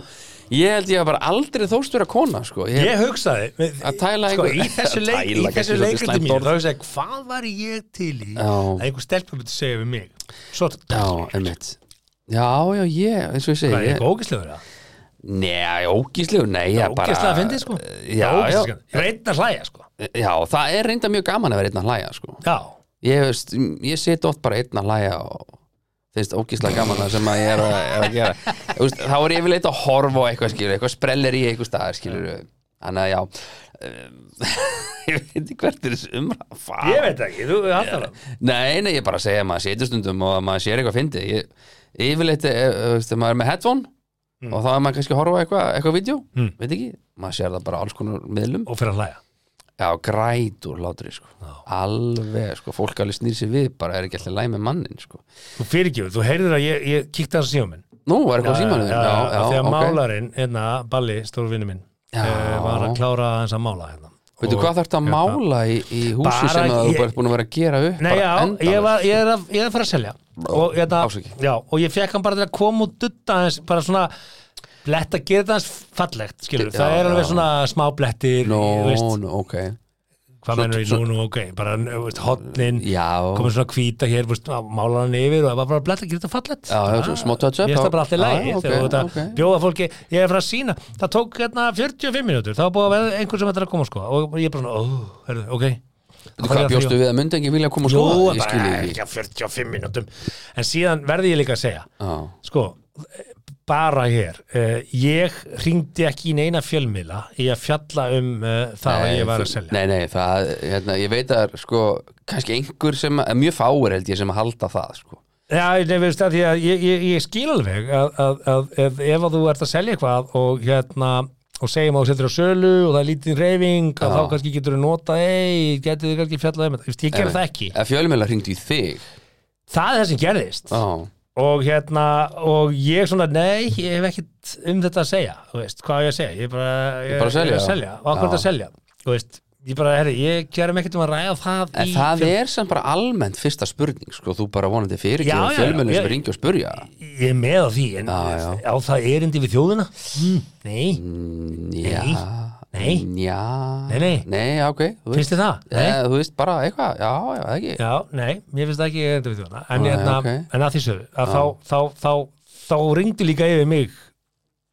C: Ég held ég að bara aldrei þóst vera kona, sko Ég
D: Ég hugsaði,
C: Að tæla
D: sko,
C: einhver-
D: í þessu,
C: Að
D: leik, í
C: tæla,
D: þessu
C: kannski svolítið
D: leikandi
C: slæmt
D: mínu
C: orð.
D: þá hugsaði, ég, hvað var ég til í
C: Já.
D: að einhver stelpa myndi segja við mig Svo,
C: Já, einmitt Já, já, ég, eins og ég segi
D: hvað er
C: ég-
D: ég ógeðslega verið
C: Nei, ógíslegu, nei
D: Já,
C: ég bara-
D: ógeðslega að fyndið sko
C: Já,
D: Það er ógeðslega
C: já,
D: skemmtilegt. Ég reynd að hlæja sko
C: já, það er reynda mjög gaman að vera einn að hlæja sko.
D: Já,
C: Ég, veist, ég sit oft bara einn að hlæja og finnst ógíslega gaman það sem að ég er að, er að gera Þú veist, Þá er ég yfirleitt að horfa á eitthvað skilur eitthvað sprellir í eitthvað staðar skilur Þannig að já um, Ég veit ekki hvert er þessu umræð
D: ég veit ekki, þú er alltaf það
C: Nei, nei, ég bara segja að maður setur stundum og að maður sér eitthvað fyndi ég, Yfirleitt, eh, þú veist, ef maður er með headphone og þá er maður kannski að horfa á eitthvað, eitthvað vídeo,
D: Mm.
C: veit ekki maður sér það bara á alls konar miðlum
D: Og fyrir að hlæja
C: Já, grætur látri, sko
D: Já.
C: Alveg, sko, fólk alveg snýr sér við bara er ekki alltaf læg með mannin, sko
D: Þú fyrirgjöf, þú heyrður að ég, ég kíkti að síma minn
C: Nú, var eitthvað símanum
D: já, já,
C: já,
D: Þegar
C: ok
D: málarinn, hérna, Balli, stórvinni minn
C: Já.
D: eh, Var að klára hans að mála hérna
C: Veitu,
D: Og-
C: hvað þarftu að mála í, í húsi
D: Bara
C: sem að
D: ég-
C: þú ert búin að vera að gera upp
D: Nei,
C: bara
D: já,
C: endalaust?
D: ég, var, ég, er að, ég er að fara að selja og, hérna,
C: Ásakið.
D: já, og ég fekk hann bara til að koma út dutta hans, bara svona blett að gera þetta hans fallegt skilur,
C: Já,
D: það er alveg
C: já.
D: svona smá blettir
C: Nú,
D: þú veist,
C: nú, ok
D: hvað mennur ég nú, nú, ok bara þú veist, hotnin,
C: Já,
D: komið svona hvíta hér, veist, málar hann yfir og það var bara bletta, gerir þetta fallegt
C: Já, já, svo smá touch-up,
D: Ég veist
C: já.
D: það bara allt í lagi
C: Já,
D: ah,
C: ok,
D: okay, þetta,
C: ok.
D: bjóða fólki, ég er frá að sína það tók hérna 45 minútur, það var búið að vera einhver sem þetta er að koma sko og ég er bara svona, ó, herðu, ok
C: Veitu, hvað bjóstu við að myndi ekki vilja koma og
D: Jó,
C: skoða? Ég skil
D: bara
C: ég ekki
D: ekki að 45 minútum en síðan verði ég líka að segja
C: Já,
D: sko, bara hér eh, ég ringdi ekki í neina fjölmiðla í að fjalla um eh, það að ég var að
C: þú-
D: selja
C: Nei, nei, það, hérna, ég veit að sko, kannski einhver sem, að- mjög fáir held ég sem að halda það, sko
D: Já, ég veist að því að ég, ég, ég skil alveg að, að, að, að ef að þú ert að selja eitthvað og hérna og segjum að þú setur á sölu og það er lítið reyfing að
C: Já.
D: þá kannski getur þú notað ei, getur þið kannski fjallað um þetta, Þú veist, ég gerði það ekki
C: Ef fjölmjöla hringdu í þig
D: það er það sem gerðist
C: Já,
D: og hérna, og ég svona nei, ég hef ekkit um þetta að segja þú veist, hvað á ég að segja, ég er bara ég,
C: er bara að selja.
D: ég er að selja, og akkur
C: Já.
D: að selja þú veist, ég bara, herri, ég gerum ekkit um að ræða það
C: En
D: í
C: það
D: fjölmiðlum.
C: er samt bara almennt fyrsta spurning sko, þú bara vonandi fyrir
D: Já,
C: ekki
D: já,
C: fjölmennir
D: já,
C: sem
D: ég-
C: ringi og spurja
D: ég er með á því, en
C: Já, já. Mm.
D: á það erindi við þjóðina Hm, nei,
C: Já,
D: Nei.
C: já
D: Nei, nei.
C: Nei, ok, þú
D: finnst þið það?
C: Nei. Eh, þú veist bara eitthvað, já, já, það ekki
D: Já, nei, mér finnst það ekki erindi
C: Ah,
D: við þjóðana en,
C: Nei,
D: hérna,
C: ok.
D: en að því sögðu að þá, þá, þá, þá, ringdi líka yfir mig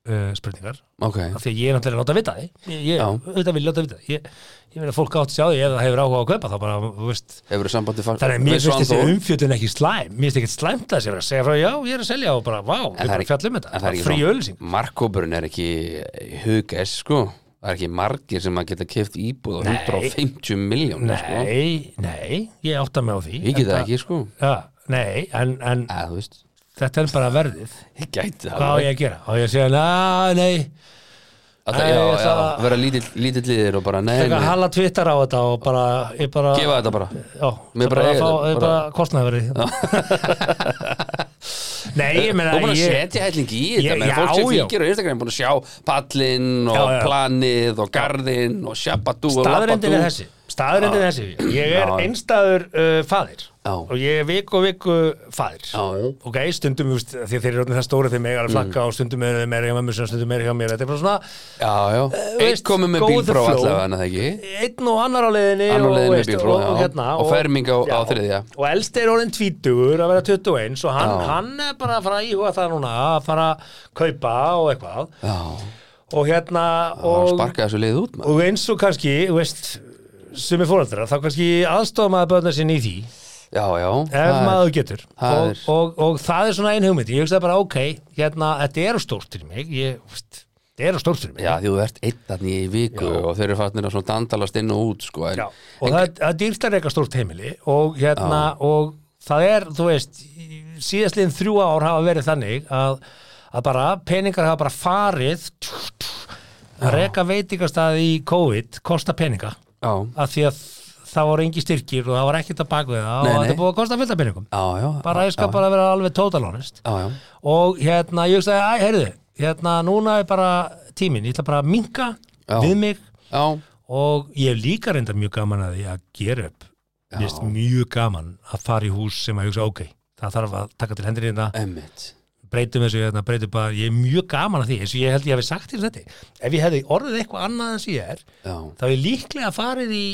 D: uh, spurningar
C: ok,
D: af því að ég er náttúrulega að láta vita því ég, ég
C: Já.
D: auðvitað vil láta vita því. ég, ég vil að fólk átt sjá því ef það hefur áhuga á að kaupa þá bara, þú veist
C: hefur þú sambandi fa-
D: þannig að mér
C: við Svan
D: finnst þessi
C: Þór?
D: umfjöldun ekki slæm mér finnst ekki slæmt að þessi að segja frá já, ég er að selja og bara, vá,
C: það
D: við
C: er
D: bara
C: ekki- en
D: fjallum þetta
C: það er ekki
D: frí
C: svona-
D: ölsing
C: markkópurinn er ekki hugess sko, það er ekki margir sem að geta keft íbúð á
D: Nei.
C: 150 miljón sko,
D: nei, nei, ég átta mig á því
C: ég geta
D: En
C: það ekki sko
D: ja, nei, en, en
C: eða þú veist,
D: þetta er bara verðið
C: ég gæti það
D: hvað á
C: alveg.
D: ég að gera, á ég að segja, na, nei
C: Að
D: Nei,
C: það- já,
D: ég ætla
C: já,
D: að-
C: vera lítill lítill liðir og bara, nei,
D: taka
C: nei,
D: hala tvittar á þetta og bara, ég bara
C: gefa þetta bara
D: já,
C: Mér bara
D: bara, bara,
C: eiga
D: fá,
C: þetta,
D: bara,
C: bara-
D: bara kostnaðverið nei, ég meina
C: og búin að
D: ég,
C: setja helling í
D: Ég-
C: þetta menn
D: já,
C: fólk sem
D: já.
C: fylgir á Instagram búin að sjá pallinn og
D: Já, já.
C: planið og garðinn og sjabatú og
D: staðrendin er
C: labbatú.
D: þessi staðrendin er þessi, ég er
C: Já.
D: einstæður uh, faðir
C: Já.
D: og ég er viku og viku faðir
C: Já, Mm. já.
D: ok, stundum, þú veist, af því að þeir eru orðnir það stóra þeir megar að flakka og stundum eru þeir meira hjá mömmu sinni og stundum meira hjá mér, þetta er bara svona
C: já, já, einn
D: Eh, veist,
C: komið með
D: go with the
C: bílpróf
D: flow.
C: allavega en það ekki
D: einn og annar á leiðinni
C: Annar á
D: og,
C: leiðinni með
D: veist,
C: bílpróf,
D: og, og,
C: já.
D: hérna,
C: Og ferming á- á þriðja.
D: og elst er orðin tvítugur að vera 21 og hann,
C: Já.
D: hann er bara að fara að íhuga það núna að fara að kaupa og eitthvað
C: já,
D: og hérna
C: og
D: og,
C: sparka þessu lið út maður.
D: og eins og kannski, þú veist sem er fórhaldra, þá kannski aðstofa maður börna sinni í því,
C: já, já,
D: ef
C: það er-
D: maður getur
C: það
D: og,
C: er-
D: og, og það er svona ein hugmynd ég hugsaði bara, ok, hérna, þetta er stórt fyrir mig ég, þú veist, þetta er stórt fyrir mig
C: já, því þú ert einn þarna í viku og þeir eru farnir að svona dandalast inn og út sko, en,
D: Já, og það, er- það er dýrt að reyka stórt heimili og hérna og það er, þú veist síðastliðin þrjú ár hafa verið þannig að, að bara peningar hafa bara farið tjú, tjú, að reyka veitingastæði í COVID kosta peninga
C: já,
D: af því að það voru engi styrkir og það var ekkert að baka við
C: Nei,
D: það og þetta
C: nei.
D: er búið að kosta fullta peningum
C: já, já
D: bara ég skal
C: já,
D: bara vera alveg total honest
C: já, já,
D: og hérna ég sagði, æ, heyrðu hérna núna er bara tíminn ég ætla bara að minka
C: Já.
D: við mig
C: já,
D: og ég hef líka reynda mjög gaman að því að gera upp mér finnst mjög gaman að fara í hús sem að hugsa ok, það þarf að taka til hendur hérna
C: emmitt
D: breytum þessu hérna, breytum bara ég er mjög gaman að því, eins og ég held ég hefði sagt til þetta ef ég hefði orðið eitthvað annað en sem ég er
C: já,
D: þá hef ég líklega farið í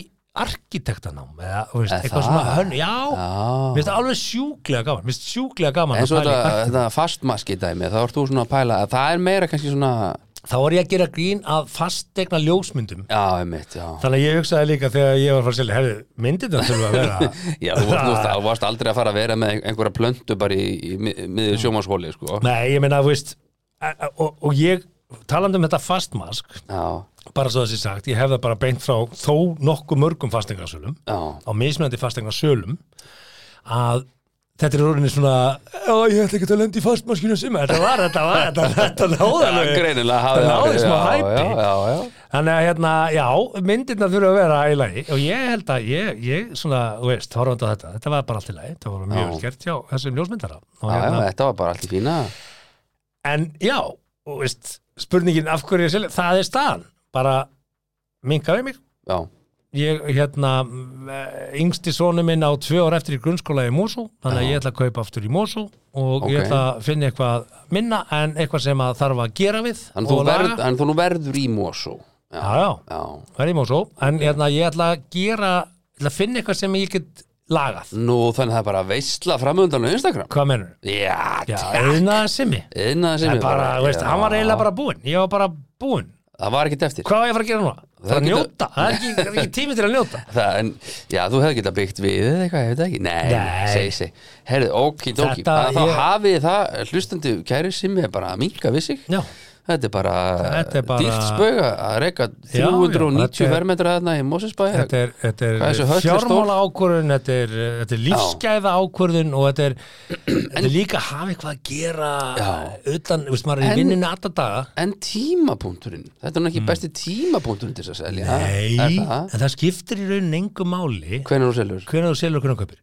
D: arkitektanám eða þú veist,
C: Eða
D: eitthvað
C: það?
D: svona hönn, já, mér
C: já
D: finnst það alveg sjúklega gaman mér finnst sjúklega gaman
C: En
D: að
C: svo
D: pæla í
C: þetta,
D: arkitekt-
C: þetta fastmaski dæmi, þá ert þú svona að pæla að það er meira kannski svona,
D: þá var ég að gera grín að fastegna ljósmyndum
C: já, einmitt, já.
D: þannig að ég hugsaði líka þegar ég var að fara að selja herðu, myndirna þurfa að vera
C: Já, þú varst, þú varst aldrei að fara að vera með einhverja plöntu bara í, í mið- miðju sjómanshóli, sko.
D: Nei, ég meina, þú veist a- a- og, og ég, talandi um þetta fastmask
C: Já,
D: bara svo þessi sagt, ég hef það bara beint frá þó nokkuð mörgum fastingarsölum
C: já,
D: á mismunandi fastingarsölum að þetta er orðinni svona Já, ég ætla ekki að lenda í fastmaskinu sem þetta var, þetta var, þetta, þetta
C: já
D: náðalegu
C: greinilega hafði
D: það náði
C: áhrif,
D: smá
C: já,
D: hæpi.
C: Já, já, já,
D: Þannig að hérna, já, myndirna þurfa að vera í lagi og ég held að ég, ég svona, þú veist, horfandi á þetta, þetta var bara allt í lagi, þetta var mjög
C: Já.
D: vel gert hjá þessum ljósmyndara og
C: já, já,
D: hérna,
C: þetta var bara allt í fína.
D: En já, og veist, spurningin af hverju ég selja, það er staðan bara minka við mig
C: Já,
D: ég, hérna, eh, yngsti sonu minn á tvö ár eftir í grunnskóla í Mosó þannig að ég ætla að kaupa aftur í Mosó og
C: Ókei.
D: ég ætla að finna eitthvað minna en eitthvað sem að þarf að gera við
C: en þú,
D: og laga.
C: verð, en þú nú verður í Mosó.
D: Já, já,
C: Já,
D: það er í Mosó en hérna, ég ætla að gera, ég ætla að finna eitthvað sem ég get lagað
C: nú þannig að það er bara veistla framöndan á Instagram.
D: Hvað menur?
C: Já,
D: Já,
C: já.
D: einaða simmi
C: Einna sem
D: En bara, þú veist,
C: Já.
D: hann var eiginlega bara búinn Ég var bara búinn
C: Það var ekkert eftir.
D: hvað á ég að fara að gera núna? Það er að
C: getur-
D: njóta, það er ekki, það er ekki tími til að njóta
C: Það, en, já, þú hefði getað byggt við eða eitthvað, ég veit það ekki Nei,
D: Nei.
C: segi, segi, herðu, okidoki
D: Þetta
C: Þá
D: ég-
C: hafið það, hlustandi kæri sem er bara að minka við sig
D: Já,
C: Þetta er bara,
D: Þetta er bara-
C: dýrt spöga að reyka
D: Já, já,
C: 390
D: þetta er-
C: vermetra þarna í Mosesbæ
D: þetta er, þetta
C: Hvað er þessi höll
D: er
C: er stór?
D: fjármála ákvörðun, þetta er, þetta er lífsgæða ákvörðun og þetta er, þetta er líka að hafa eitthvað að gera
C: Já.
D: utan, þú veist, maður er
C: En-
D: í vinninu alltaf daga
C: En tímapunkturinn, þetta er nú ekki besti tímapunkturinn til þess að selja
D: Hmm. Nei,
C: er
D: en
C: það?
D: það skiptir í raunin engu máli
C: Hvenær þú selur?
D: hvernig þú selur og hvernig þú kaupir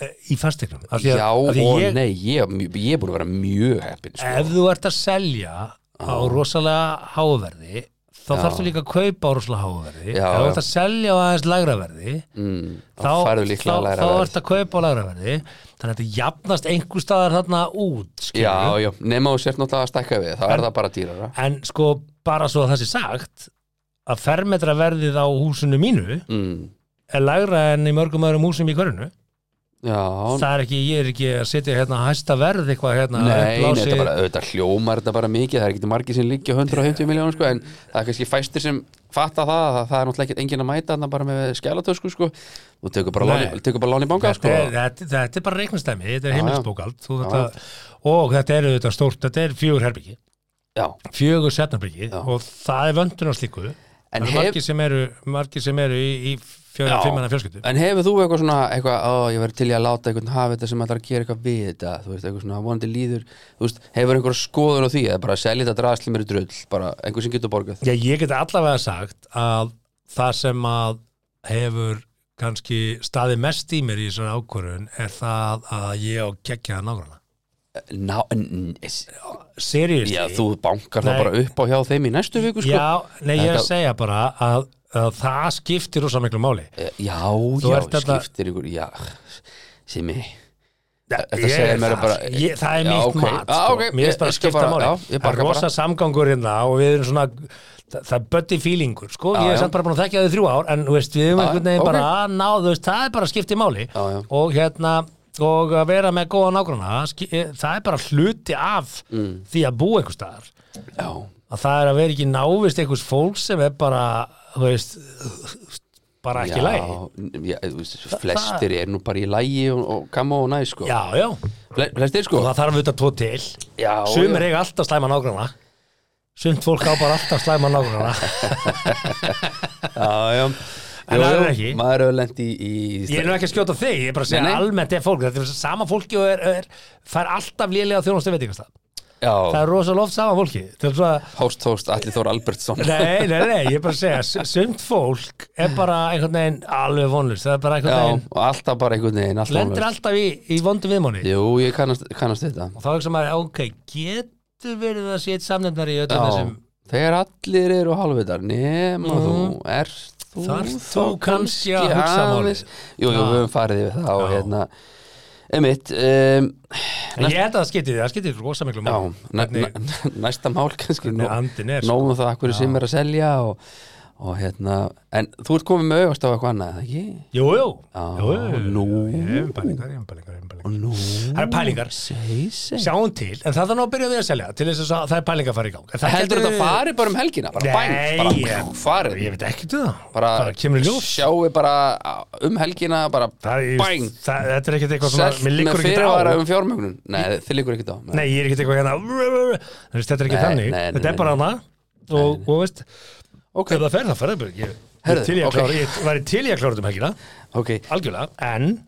D: Eh, í fastegnum af því að-
C: Já
D: af
C: og
D: því ég,
C: nei, ég, ég er búin að vera mjög heppin
D: ef
C: sko.
D: þú ert að selja á rosalega háverði þá
C: Já.
D: þarfst þú líka að kaupa á rosalega háverði
C: Já,
D: ef þú
C: já.
D: ert að selja á aðeins lægra verði
C: mm, Þá
D: þá,
C: færðu líklega að læra
D: þá, þá
C: verð.
D: ert að kaupa á lægra verði þannig að þetta jafnast einhver staðar þarna út
C: Já,
D: skilurðu.
C: já, nema þú sért náttúrulega að stækka við þá er það bara dýrara
D: en sko bara svo að það sé sagt að fermetra verðið á húsinu mínu
C: mm.
D: er lægra enn í mörgum öðrum húsum í hverjunu
C: já,
D: það er ekki, ég er ekki að setja hérna hæsta verð eitthvað hérna
C: Nei, nei,
D: uppblási-
C: þetta bara, auðvitað hljómar þetta bara mikið, það er ekki margir sem líkja 150 miljónum sko, en það er kannski fæstir sem fatta það, að það er náttúrulega ekkert enginn að mæta þarna bara með skjálatösku sko, þú tekur bara
D: Nei.
C: lán í- tekur bara lán í banka
D: þetta,
C: sko,
D: er, þetta, þetta er bara reiknastæmi, þetta er
C: já.
D: heimilsbókald þú þetta, og þetta er auðvitað stórt þetta er fjögur herbyggi,
C: já,
D: fjögur setnarbyggi
C: Já.
D: og það er vöndun á slíku
C: En
D: en
C: hef-
D: margir sem eru, margir sem eru í, í fjögur,
C: Já.
D: fimmana fjölskyldu
C: en hefur þú eitthvað svona, eitthvað, ó, ég verður til í að láta einhvern hafa þetta sem ætlar að gera eitthvað við þetta, þú veist, eitthvað svona vonandi líður, þú veist, hefur einhver skoðun á því, eða bara selja þetta drasli mér í drull, bara einhver sem getur borgað,
D: Já, ég get allavega sagt að það sem að hefur kannski staðið mest í mér í þessari ákvörun er það að ég á geggjaða nágrana.
C: ná, n- n- s-
D: Seriðist.
C: já, þú bankar það
D: Nei.
C: bara upp á hjá þeim í næstu viku sko,
D: Já, nei, ég er að
C: Þetta-
D: segja bara að, að það skiptir rosa miklu máli.
C: Eh, Já,
D: Þú
C: já,
D: ert þarna-
C: skiptir ykkur, já Simi, þetta
D: Ég
C: segir
D: er
C: mér
D: það.
C: bara-
D: ég, það er
C: Já,
D: mitt
C: ok.
D: mat sko.
C: Já, ok. Ég-
D: mér finnst bara
C: ég
D: að
C: skal
D: skipta
C: bara-
D: máli
C: já, ég
D: það
C: bakka
D: er rosa
C: bara.
D: samgangur hérna og við erum svona það, það er bötti fílingur sko.
C: Já,
D: ég
C: já.
D: er samt bara búin að þekkja þau í þrjú ár en þú veist, við erum
C: Já,
D: einhvern veginn
C: ok.
D: bara að ná þú veist, það er bara að skipta máli
C: Já, já.
D: og hérna og að vera með góða nágrana það er bara hluti af
C: Mm.
D: því að búa einhvers staðar
C: já,
D: að það er að vera ekki návist einhvers fólk sem er bara þú veist, bara ekki
C: já,
D: læg
C: já, þú veist, Flestir er nú bara í lægi og, og kamma og næ sko.
D: já, já,
C: Fle, Flestir sko
D: og það þarf auðvitað tvo til
C: já,
D: Sumir
C: já.
D: eiga alltaf slæma nágrana Sumt fólk á bara alltaf slæma nágrana
C: já, já.
D: En
C: Jú,
D: það er
C: jú,
D: ekki.
C: Maður hefur lent í, í
D: Ég er nú ekki að skjóta þig, ég er bara að segja
C: Nei, nei.
D: almennt er fólk, þetta er sama fólki og er, er, fær alltaf lélega þjónustu veitingastaf Það
C: Já,
D: er rosa loft sama fólki Þetta er svona,
C: hóst, hóst, Alli Þór Albertsson
D: Nei, nei, nei, ég er bara að segja su- Sumt fólk er bara einhvern veginn alveg vonlust, það er bara
C: Já,
D: einhvern veginn
C: og alltaf bara einhvern veginn alltaf alveg.
D: lendir alltaf í, í vondum viðmóni
C: Jú, ég kannast, kannast þetta
D: og þá er ekki maður, ok, getur verið að sé eitt samnefnari í öllum
C: Já,
D: þessum
C: þegar allir eru hálfvitar nema þú, er þú
D: Mhm. Þarft
C: þá
D: þú kannski að hugsa
C: aðeins- Jú, jú,
D: Já.
C: við höfum farið yfir það og
D: Já.
C: hérna Emitt, um,
D: En ég held að það skipti, það skipti rosa
C: já,
D: miklu máli.
C: næ,
D: Hvernig-
C: næ, næsta mál kannski
D: hvernig andinn er, sko.
C: nóg um það hverju sem er að selja og, og hérna, en þú ert komið með auðvast á eitthvað annað, eða ekki?
D: Jú, jú,
C: Já,
D: jú, jú,
C: nú.
D: jú, Ég hef pælingar, ég hef pælingar, ég hef pælingar
C: Nú,
D: Það er pælingar,
C: segi, segi
D: sjáum til En það er nú að byrja því að selja Til þess að það er pælingar að fara í gang En það
C: Heldur
D: getur-
C: þetta farið bara um helgina, bara
D: Nei,
C: bæn, bara
D: ég-
C: pff, farið
D: Ég veit ekki til það
C: bara,
D: Það kemur í ljós
C: sjáu bara á- um helgina bara
D: Það er-
C: bæn
D: það- Þetta er ekkert eitthvað
C: selt
D: svona Mér
C: með
D: liggur ekkert
C: fyrirvara
D: á
C: um fjármögnun nei, þið liggur ekkert á
D: Nei, ég er ekkert eitthvað hérna Þú veist, Þetta er ekki
C: Nei, nei,
D: þannig
C: nei,
D: Þetta
C: nei.
D: er bara hana Og, og veist,
C: ok,
D: ef það fer, það fer það bara Ég ég
C: Herðu,
D: er til í að
C: ok.
D: klára- ég væri til í að klára þetta um helgina
C: ok
D: Algjörlega, en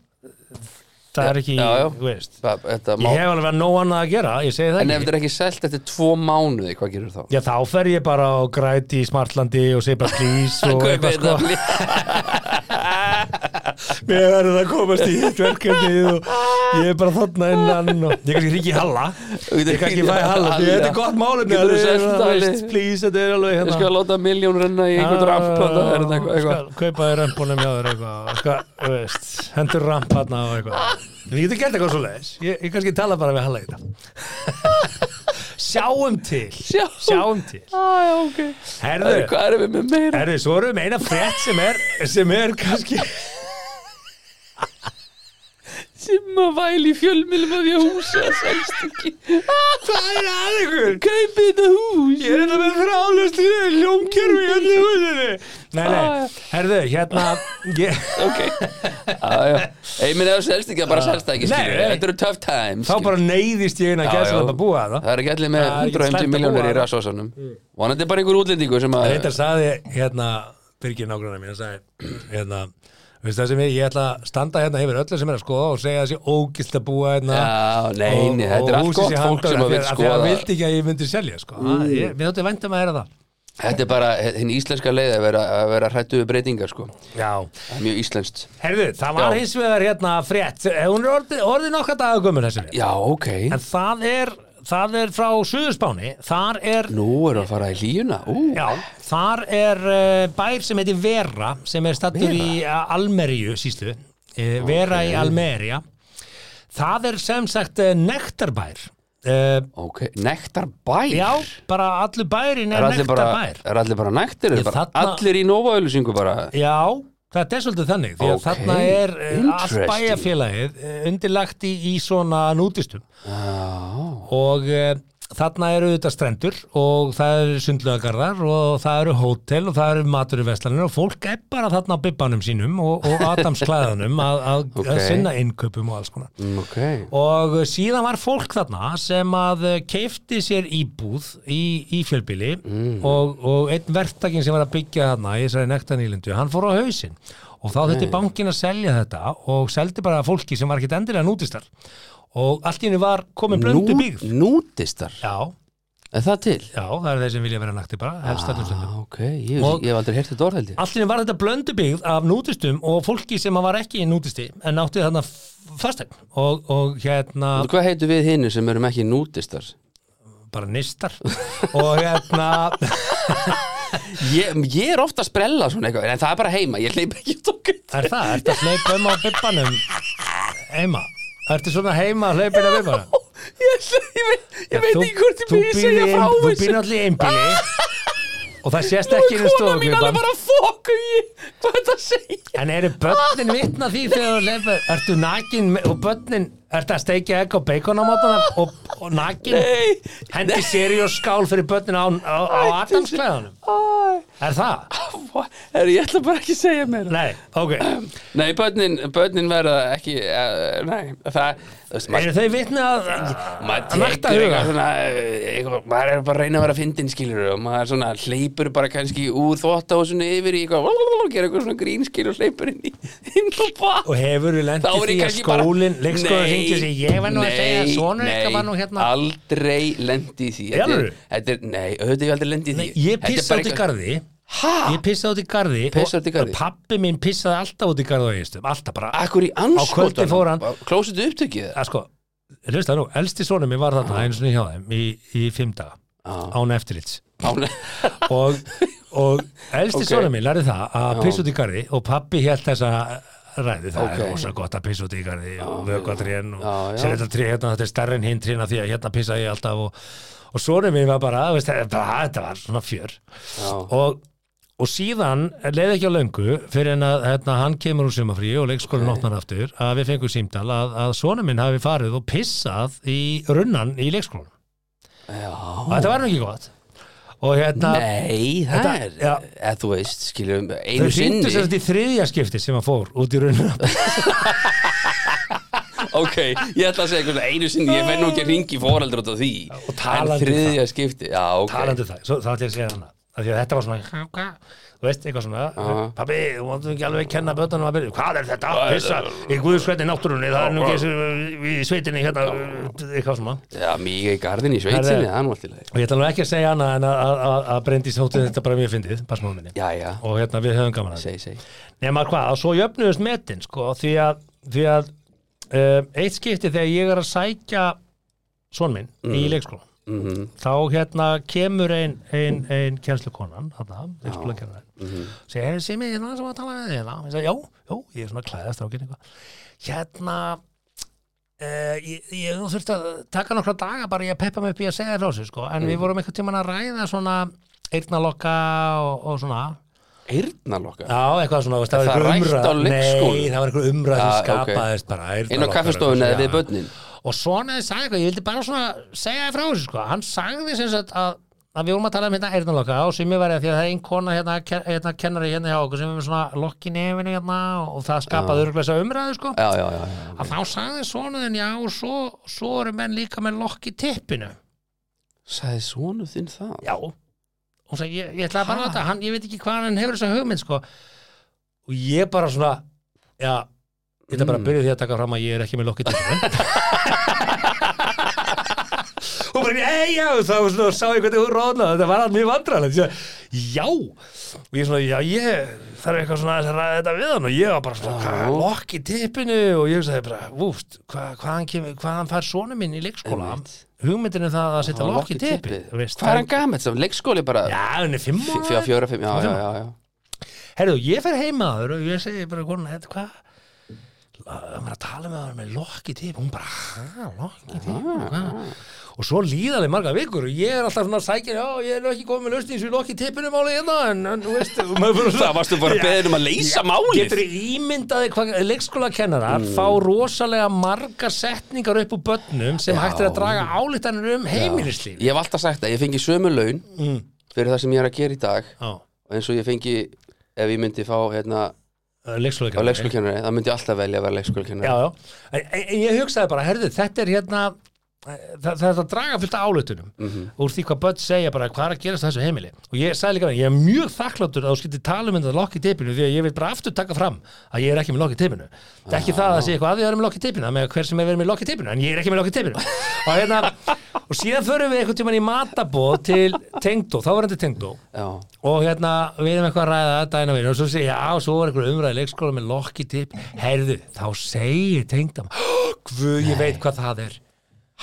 D: Það er ekki,
C: Já, já.
D: þú veist
C: Þa, þetta má,
D: Ég hef alveg nóg annað að gera, ég segi
C: en
D: það ekki
C: ef þetta er ekki selt eftir tvo mánuði, hvað gerur þá?
D: Já, þá fer ég bara á græti í Smartlandi og segi bara please og
C: Kaupið
D: eitthvað sko.
C: þetta blí-
D: Mér verður það að komast í hitt verkefnið og ég er bara þarna innan og ég kannski ríki í Halla. Ég kannski fæ Halla. Því Þetta er gott málefni.
C: Getur þú
D: alveg,
C: selt það,
D: veist,
C: Halli?
D: Please, þetta er alveg
C: ég
D: hérna.
C: skal láta miljón renna í
D: Ah,
C: einhvern ramplanda
D: Já,
C: eitthvað, eitthvað.
D: skal Kaupa þér rampunum hjá þér eitthvað. Skal, þú veist, hendur ramp hérna og eitthvað. Við getum gert eitthvað svo leiðis. Ég, ég kannski tala bara við Halla í þetta. Sjáum til.
C: Sjáum.
D: til.
C: Æ, ok
D: Herðu.
C: Hvað erum við með meira?
D: Herðu, svo erum við eina frétt sem er, sem er kannski
C: Sem að væli í fjölmilum að ég húsa Sælst ekki
D: Hvað er að ykkur?
C: Kaupið þetta hús
D: Ég er þetta með frálust í ljómkerfi í öllu húsinni Nei,
C: Ah.
D: nei, herðu, hérna ég,
C: ok ég minna það selst ekki, það bara selst það ekki
D: Ah. Nei,
C: skilur.
D: nei.
C: þetta eru tough times
D: Þá
C: skilur.
D: bara neyðist ég inn að
C: Já,
D: gæsa
C: já.
D: þetta að búa það
C: það er ekki allir með
D: Það er ekki slæmt
C: 150
D: að
C: miljónir
D: búa
C: í
D: þarna.
C: rassosanum vonandi bara einhver útlendingu sem að
D: Þetta saði, hérna, Birgir nágrunna mín sagði, hérna, veist það sem ég, ég ætla að standa hérna yfir öllu sem er að skoða og segja þessi ógilt að búa hérna
C: Já, nei, nei, þetta er allt gott fólk sem að vill
D: Því að
C: skoða.
D: það vildi ekki að ég myndi selja, sko mm. ég, Mér þótti væntum að heyra það
C: þetta er bara hinn íslenska leið að vera, að vera hrættu við breytingar sko.
D: Já,
C: Það er mjög íslenskt
D: herðu, það var
C: Já.
D: hins vegar hérna frétt, Eh, hún er orðið, orðið nokkað dagagömmun þessi frétt.
C: já, ok,
D: En það er, það er frá Suðurspáni, þar er,
C: nú erum við að fara í líuna ú,
D: já, þar er uh, bær sem heitir Vera, sem er stattur í uh, Almeríu, sístu, uh, Vera í Almería. Það er sem sagt uh, nektarbær. Uh,
C: ok, nektar bær
D: já, bara allur bærin
C: er
D: er
C: allir bara,
D: nektarbær.
C: er allir bara nektir
D: Ég,
C: bara,
D: þarna-
C: allir í Nova-auðlýsingu bara
D: Já, Þetta er svolítið þannig, því að
C: Ok,
D: þarna er eh, allt
C: interesting.
D: bæjarfélagið eh, undirlagt í, í svona nútistum
C: Já,
D: og e, þarna eru þetta strendur og það eru sundlögarðar og það eru hótel og það eru maturuveslanir og fólk er bara þarna á bibbanum sínum og, og Adamsklæðanum að, að, að
C: Ok.
D: sinna innkaupum og alls konar.
C: mm, ok
D: Og eh, síðan var fólk þarna sem að keifti sér íbúð í, í fjölbili og, og einn verktakinn sem var að byggja þarna í þessari nektanýlindu, hann fór á hausinn og þá þurfti bankin að selja þetta og seldi bara fólki sem var ekkit endilega nútistar og allt í henni var komin blöndu byggð.
C: Nútistar,
D: Já,
C: er það til?
D: já, það er þeir sem vilja vera nakti bara, helst allir stundum.
C: Ah, ok, ég,
D: Og-
C: ég hef aldrei heyrt þetta orð held ég
D: Allt í henni var þetta blöndu byggð af nútistum og fólki sem var ekki nútisti en átti þarna fastegn og, og hérna...
C: Og hvað heitum við hinu sem erum ekki nútistar?
D: bara nistar og hérna
C: Ég, ég er ofta að sprella svona eitthvað En það er bara heima, ég hleyp ekki út okkur
D: er það, ertu að hlaupa um á bibbanum heima ertu svona heima að hlaupa um á bibbanum
C: Ég, ég, veit- ég veit
D: Þú-
C: ekki hvort ég
D: þú
C: byrja að
D: býrð í
C: segja
D: ein-
C: frá
D: þú býr allir í einbíli og það sést ekki inn í
C: Kona mín alveg
D: stofuklubban
C: bara fokku í Hvað þetta segja?
D: en eru börnin vitna því þegar þú hlaupa ertu nakin me- og börnin ertu að steikja egg og bacon á mótana og, og nakin
C: Nei.
D: hendi seri og skál fyrir börnin á, á, á Adamsklæðanum
C: Æ,
D: er það?
C: er, ég ætla bara ekki að segja meira
D: nei, ok
C: Nei, börnin, börnin verða ekki uh, Nei, það þú veist,
D: eru
C: maður-
D: þau vitna að
C: Maður
D: að nakta
C: tekur
D: huga
C: eitthvað svona eh, eitthvað, Maður er bara að reyna að vera fyndin skilur og maður svona hleypur bara kannski úr þvótt á yfir í eitthvað gera eitthvað svona grínskil og hleypur inn í inn á bað
D: Og hefur við
C: Þá er
D: lendið
C: ég
D: því að
C: kannski bara
D: skólinn, leikskóðin
C: Nei,
D: hringdi sig, ég var nú að
C: nei,
D: segja að sonur
C: nei,
D: eitthvað var nú hérna.
C: Aldrei lendi því Þetta er-
D: alvöru?
C: Þetta er, nei, auðvitað ég aldrei lendi því
D: Nei, ég
C: Þetta er
D: pissa
C: bara
D: út í
C: eitthvað-
D: garði,
C: Ha?
D: ég pissa út í garði
C: Pissa út í garði?
D: pappi minn pissaði alltaf út í garði á eistum, alltaf bara,
C: Akkur í
D: kvöldi fór hann.
C: anskotan Klósetu upptökið
D: að sko, hlusta nú, elsti sonur minn var þarna einu svona hjá þeim í, í fimm daga,
C: Já.
D: án eftirlits.
C: Án-
D: Og, og elsti
C: Ok.
D: sonur minn lærði það að
C: Já.
D: pissa út í garði og pappi hélt þessa ræði það
C: Ok.
D: er rosa gott að pissa út í garði og vökvatrén og
C: Já, já.
D: sér þetta tré hérna þetta er stærri en hinn tréna því að hérna pissa ég alltaf og, og sonur minn var bara, veist, bara þetta var svona fjör
C: Já.
D: og, og síðan leið ekki á löngu fyrir en að hérna, hann kemur úr sumafrí og leikskólinn opnar aftur að við fengum símtal að, að sonu minn hafi farið og pissað í runnan í leikskólinn
C: Já
D: og þetta var nú ekki gott og hérna
C: Nei, það
D: Þetta-
C: er,
D: já.
C: eða þú veist, skiljum,
D: þau
C: einu
D: hringdu
C: sinni
D: sem þetta í þriðja skipti sem hann fór út í runnan
C: Ok, ég ætla að segja eitthvað, einu sinni, ég fenn nú ekki að ringi fóraldur út af því
D: og talandi um
C: En þriðja skipti, já, ok
D: talandi um það, svo, það ætla ég að segja hana því að þetta var svona þú veist, eitthvað svona, pabbi, þú máttum ekki alveg kenna bötunum að byrja, hvað er þetta, pissa í guðskvætni náttúrunni, það er nú ekki þessu- í sveitinni hérna, eitthvað svona
C: Já, mikið í garðin í sveitinni, það
D: Herðu.
C: er nú allt í lagi
D: Og ég ætla nú ekki að segja hana en að, að- að, að Bryndís hótti þetta bara mjög fyndið, passmóðu minni.
C: Já, já,
D: Og hérna við höfum gaman að það.
C: segi, segi
D: Nefna hvað, að svo jöfnuðust metin, sko, því að, því að um, eitt skipti þegar ég er að sækja son minn
C: Mm.
D: í leikskóla,
C: Mhm.
D: þá hérna kemur ein, ein, ein kennslukonan, þarna, leikskólakennan, segir, hey, Simi, ég er svona að tala við þig hérna. Ég segi, já, já, ég er svona að klæðast rákinn eitthvað. Hérna, Uh, ég, ég nú þurfti að taka nokkra daga bara ég að peppa mig upp í að segja frá þessu sko en við vorum eitthvað tíman að ræða svona eyrnalokka og, og svona
C: Eyrnalokka
D: Já, eitthvað svona, veist, það
C: Það
D: var
C: rætt
D: eitthvað
C: á
D: umræð
C: leikskólanum?
D: Nei, það var eitthvað umræð sem
C: Já, ok.
D: skapaðist bara
C: Inn á
D: eyrnalokka-
C: kaffestofuna
D: Já.
C: eða við börnin
D: Og svona þið sagði eitthvað, ég vildi bara svona segja þér frá þessu sko Hann sagði sem sagt að, að við vorum að tala um hérna eyrnalokka og sem ég verið því að það er einn kona hérna, ken- hérna kennari hérna hjá okkur sem er með svona lokk í nefinu hérna og það skapaði örgulega þessa umræðu sko
C: Já, já, já, já
D: að þá sagði sonuðin já og svo, svo eru menn líka með lokk í tippinu
C: Sæði sonu þinn það?
D: já og sagði ég, ég ætlaði bara að
C: Ha?
D: láta hann, ég veit ekki hvað hann hefur þessa hugmynd sko og ég bara svona já, ég ætla bara
C: Mm.
D: að byrja því að taka fram að ég er ekki með lokk í tippinu og bara, ei já þá svona, sá ég hvernig hún rónaði þetta var alveg mjög vandrarlegt Ég sagði, já, og ég svona, já ég þarf eitthvað svona aðeins að ræða þetta við hann og ég var bara svona,
C: Já.
D: hvað lokk í tippinu og ég sagði bara, vúst, hva, hvaðan, kemur, hvaðan fær sonu minn í leikskóla
C: Einmitt.
D: hugmyndin er það að setja lokk í tippi
C: Hvað er hann gamall? sem? Leikskóli bara
D: Já, hann er fimm
C: Fjó-
D: ára.
C: Fjóra, fjóra, fimm, já, já, já, já
D: Herðu, ég fer heima aður og ég segi bara konan, þetta hvað? maður að tala með hann með lokki tip hún bara, hæ, lokki tip ah. og svo líða þeir marga vikur og ég er alltaf svona sækir, já, ég er nú ekki komið með lausning svo lokki tipinu máli hérna en, en þú veist, og maður fyrir
C: Það varstu bara beðin um að leysa málið
D: Getur ímyndaði hvað leikskóla kennarar fá rosalega margar setningar upp úr börnum sem hægt er að draga álítanir um heimilislíf
C: Ég hef alltaf sagt að ég fengi sömu laun
D: Mm.
C: fyrir það sem ég er að gera í dag
D: Já,
C: eins og ég fengi, ef ég myndi fá hérna, á
D: leikskóla
C: leikskólkennari það myndi ég alltaf velja að vera leikskólkennari
D: já, já. En, en ég hugsaði bara, herðu, þetta er hérna það, það er að draga fullt af álutunum úr því hvað börn segja bara hvað er að gerast á þessu heimili og ég sagði líka, ég er mjög þakkláttur að þú skilti tala um þetta lokk í teipinu því að ég vil bara aftur taka fram að ég er ekki með lokk í teipinu það er ekki það að það sé eitthvað að ég er með lokk í teipinu það með hver sem er verið með lokk í teipinu, en ég er ekki með lokk í teipinu og hérna, og síðan förum við einhvern tímann í matabóð til tengdó, þá var þetta tengdó
C: Já,
D: og hérna við erum eitthvað að ræða þetta eina við og svo segja, já, svo var einhver umræði leikskóla með lokki tipp, herðu, þá segir tengdam, hvað, ég veit hvað það er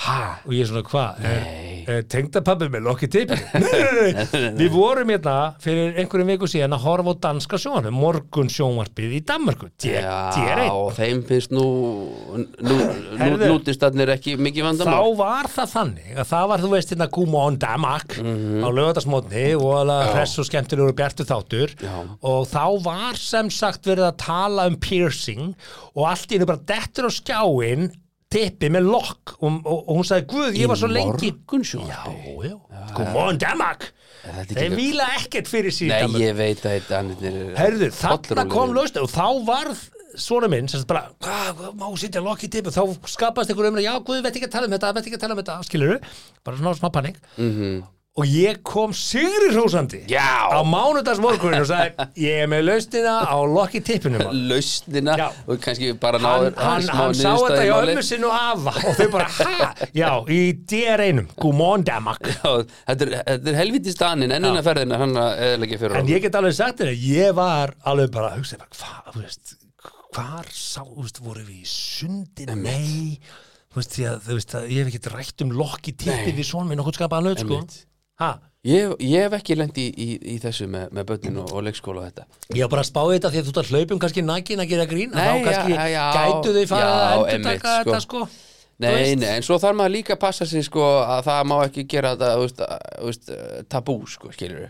D: ha, og ég er svona, hvað er, er tengdapabbi með lokki tipp nei, nei, nei, við vorum hérna fyrir einhverjum viku síðan að horfa á danska sjónvarpið, morgun sjónvarpið í Danmarku,
C: já
D: D1
C: og þeim finnst nú, nú, nú
D: Herðu.
C: nútistarnir ekki mikið vandamál
D: þá var það þannig að það var, þú veist, hérna Gúma on Damak á lögatarsmótni og alveg hress og skemmtilegur og bjartu þáttur
C: Já.
D: og þá var sem sagt verið að tala um piercing og allt í hennu bara dettur á skjáin tippi með lokk og, og, og hún sagði, guð, ég var svo lengi Já,
C: Morgunsjónvarpi?
D: já, Gúma on Damak
C: þetta er
D: þeir
C: ekki-
D: vila ekkert fyrir síðan
C: Nei, ég veit að þetta annir
D: Herðu, þarna kom löst og þá varð svona minn sem sagt bara, hvað, hvað, má sitja lokk í tipu þá skapast einhver umræð, já, guð, veit ekki að tala um þetta veit ekki að tala um þetta, skilur bara svona smá panik -hmm. og ég kom sigri hrósandi
C: Já.
D: á mánudagsmorgunin og sagði ég er með lausnina á lokk í tippunum
C: Lausnina
D: Já.
C: og kannski bara
D: hann,
C: náður
D: hann, hann sá þetta hjá ömmu sinn og afa og þau bara, ha, já, í DR1 Gúmón Damak
C: Þetta er, þetta er helviti stanin ennina ferðina hann að eðlega fyrir
D: En
C: okkur.
D: ég get alveg sagt þér að ég var alveg bara að hugsa, bara, hvað, þú veist, hvar sá, þú veist, voru við í sundi, nei, þú veist, því að, þú veist, að ég hef ekki rætt um lokki tippi
C: Nei.
D: við svona minn og hún skapaði lög, sko.
C: Einmitt.
D: Ha,
C: Ég, ég hef ekki lendi í, í, í þessu með, með börnin og, og leikskóla og þetta
D: ég var bara að spá í þetta því að þú ert að hlaupum kannski nakin að gera grín, að
C: Nei,
D: þá kannski
C: já, já,
D: gætu þau fara
C: já,
D: að
C: einmitt,
D: endurtaka
C: sko.
D: þetta, sko. Þú
C: Nei,
D: veist.
C: nei, en svo þarf maður líka að passa sig sko að það má ekki gera þetta þú veist, að- þú veist, tabú sko, skilur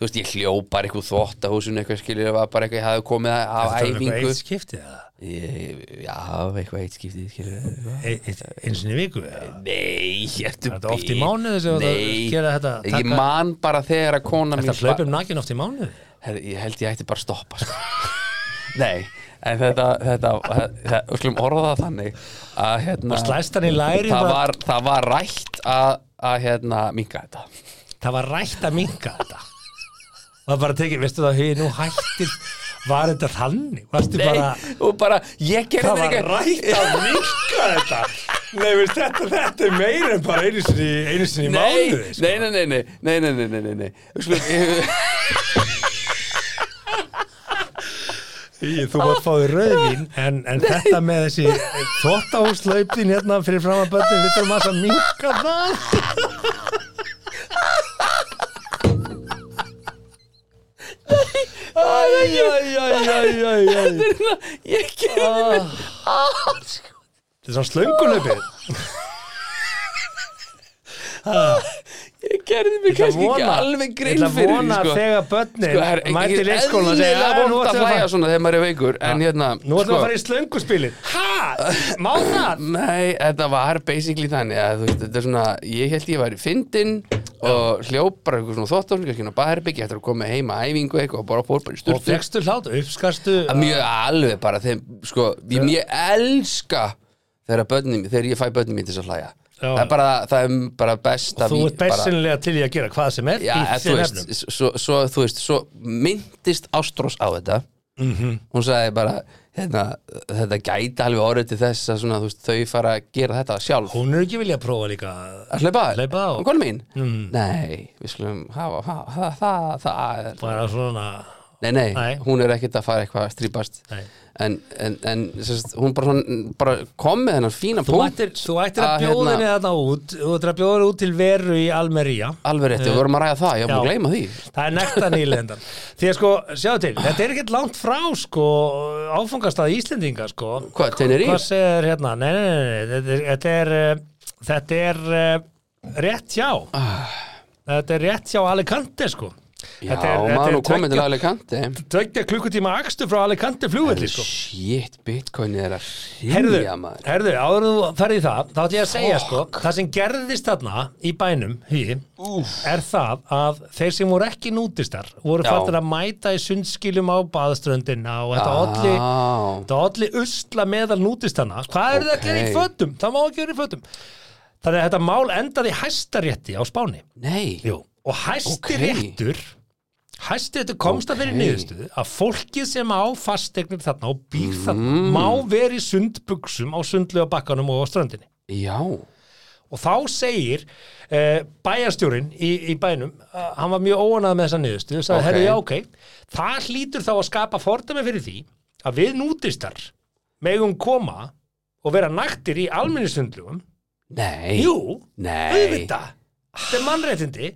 C: Þú veist, ég hljópar eitthvað þvótt að húsinu eitthvað skilur, það var bara eitthvað ég hafði komið að- af
D: Þetta var um eitthvað
C: æfingu
D: eitt skiptið, eða?
C: ég, Já, eitthvað eitt skiptið skilur
D: Eitt- eitt- E, einu sinni í viku, eða?
C: Nei, ertu
D: Þetta er oft í
C: bit.
D: mánuði sem þú
C: Nei,
D: gera þetta,
C: Ég
D: taka-
C: man bara þegar að kona
D: Ertu
C: mín
D: að um- hlaupum nakin oft í mánuði?
C: Her, Ég held ég ætti bara að stoppa sko. Nei, en þetta Þetta, þetta við skulum orða það þannig að hérna
D: Og slæst hann í læri
C: það
D: bara-
C: var, það var rætt að, að hérna minga þetta
D: það var rætt að minka þetta það var bara tekið, veistu það, hei, nú hættir var þetta þannig, varstu bara
C: Nei, og bara, ég gerði
D: það var
C: mér
D: rætt að minka þetta nei, veist, þetta, þetta er meira en bara einu sinni, einu sinni í
C: Nei,
D: mánuði sko.
C: nei, nei, nei, nei, nei, nei, nei, nei, nei, nei. Við skulum-
D: Í, þú mátt fáið rauðvín en, en þetta með þessi þvóttahúslaupin hérna fyrir fram að börnum við þurfum að minka það
C: Æ, æ, æ, æ, æ, æ,
D: Jæ, jæ.
C: æ. Þetta er- Ég gerði mér
D: Ah. þetta er svona slöngulaupið
C: Ég gerði mér kannski ekki alveg grinn fyrir því,
D: vona að
C: sko.
D: þegar börnin
C: Sko, það er
D: mæti
C: ekki
D: leikskólan og segja
C: eðlilega
D: "Já, nú
C: vont
D: ætlum
C: að
D: við
C: hlæja svona þegar maður er veikur En hérna,
D: Nú ætlum við að fara í slönguspilin Ha? Má það?
C: Nei, þetta var basically þannig að þú veist, þetta er svona, ég held ég var í fyndin og hljóp bara eitthvað svona þóttofningar skinn á baðherbyggi eftir að koma heim að æfingu eitthvað og bara fór bara í
D: Og
C: sturtu
D: fegstu hlátt, uppskastu
C: Að Mjög alveg bara þeim, sko, ég, ég elska þegar, börnum, þegar ég fæ börnum mín til þess að hlæja
D: Já.
C: Það er bara, það er bara best að
D: Þú
C: ví-
D: ert
C: bara-
D: bersinlega til í að gera hvað sem er
C: Já,
D: í
C: en þú
D: þeim
C: veist,
D: efnum
C: svo, svo, þú veist, svo myndist Ástrós á þetta
D: Mhm.
C: -hmm. hún sagði bara hérna, þetta gæti alveg orðið til þess að svona, þú veist, þau fara að gera þetta sjálf
D: Hún er ekki vilja að prófa líka
C: að hlaupa á
D: Hlaupa Mm. á.
C: og konu mín nei, við skulum hafa hafa- það, það, það, það
D: bara svona
C: nei, nei,
D: Nei.
C: hún er ekkert að fara eitthvað að strípast
D: Nei.
C: en, en, en sérst, hún bara, svona, bara kom með hennar fína
D: Þú
C: punkt
D: ættir, þú ættir að bjóða
C: hérna-
D: henni þarna út Þú ættir að bjóða henni út til veru í Almería
C: alveg rétti, við vorum að ræða það, ég var búin að
D: Já.
C: gleyma því
D: Það er nekta nýlendan Því að sko, sjáðu til, þetta er ekkert langt frá sko, áfangastað Íslendinga sko.
C: Hvað, Tenerife?
D: Hvað segir hérna? Nei, nei, nei, nei, nei, þetta er eh, þetta er, eh, rétt hjá Þetta er rétt hjá Alicante sko
C: Ah. Já, maður nú komið til Alicante
D: Tveggja klukkutíma akstu frá Alicante flugvelli sko
C: Shit, bitcoin er að
D: Herðu,
C: hrýja maður
D: herðu, áður en þú ferði það þá ætlum ég að segja sko, það sem gerðist þarna í bænum, hý, er það að þeir sem voru ekki nútistar voru
C: Já.
D: fattir að mæta í sundskilum á baðströndina og þetta
C: Á.
D: olli þetta olli usla meðal nútistana hvað eru okay. það að gera í
C: Ókei.
D: fötum? Það má ekki vera í fötum þannig að þetta mál endaði í hæstarétti á Spáni
C: Nei,
D: Jú. og hæstiréttur okay. Hæstiréttur komst að fyrir
C: Ókei.
D: niðurstöðu að fólkið sem á fastegnir þarna og býr þarna má vera í sundbuxum á sundlega bakkanum og á ströndinni.
C: já
D: Og þá segir eh, bæjarstjórin í, í bænum, að hann var mjög óanað með þessa niðurstöðu,
C: Ókei.
D: sagði, herri, já, ok, það hlýtur þá að skapa fordæmi fyrir því að við nútistar megum koma og vera naktir í alminnisundlugum.
C: Nei,
D: Jú,
C: nei
D: auðvitað, þetta er mannréttindi.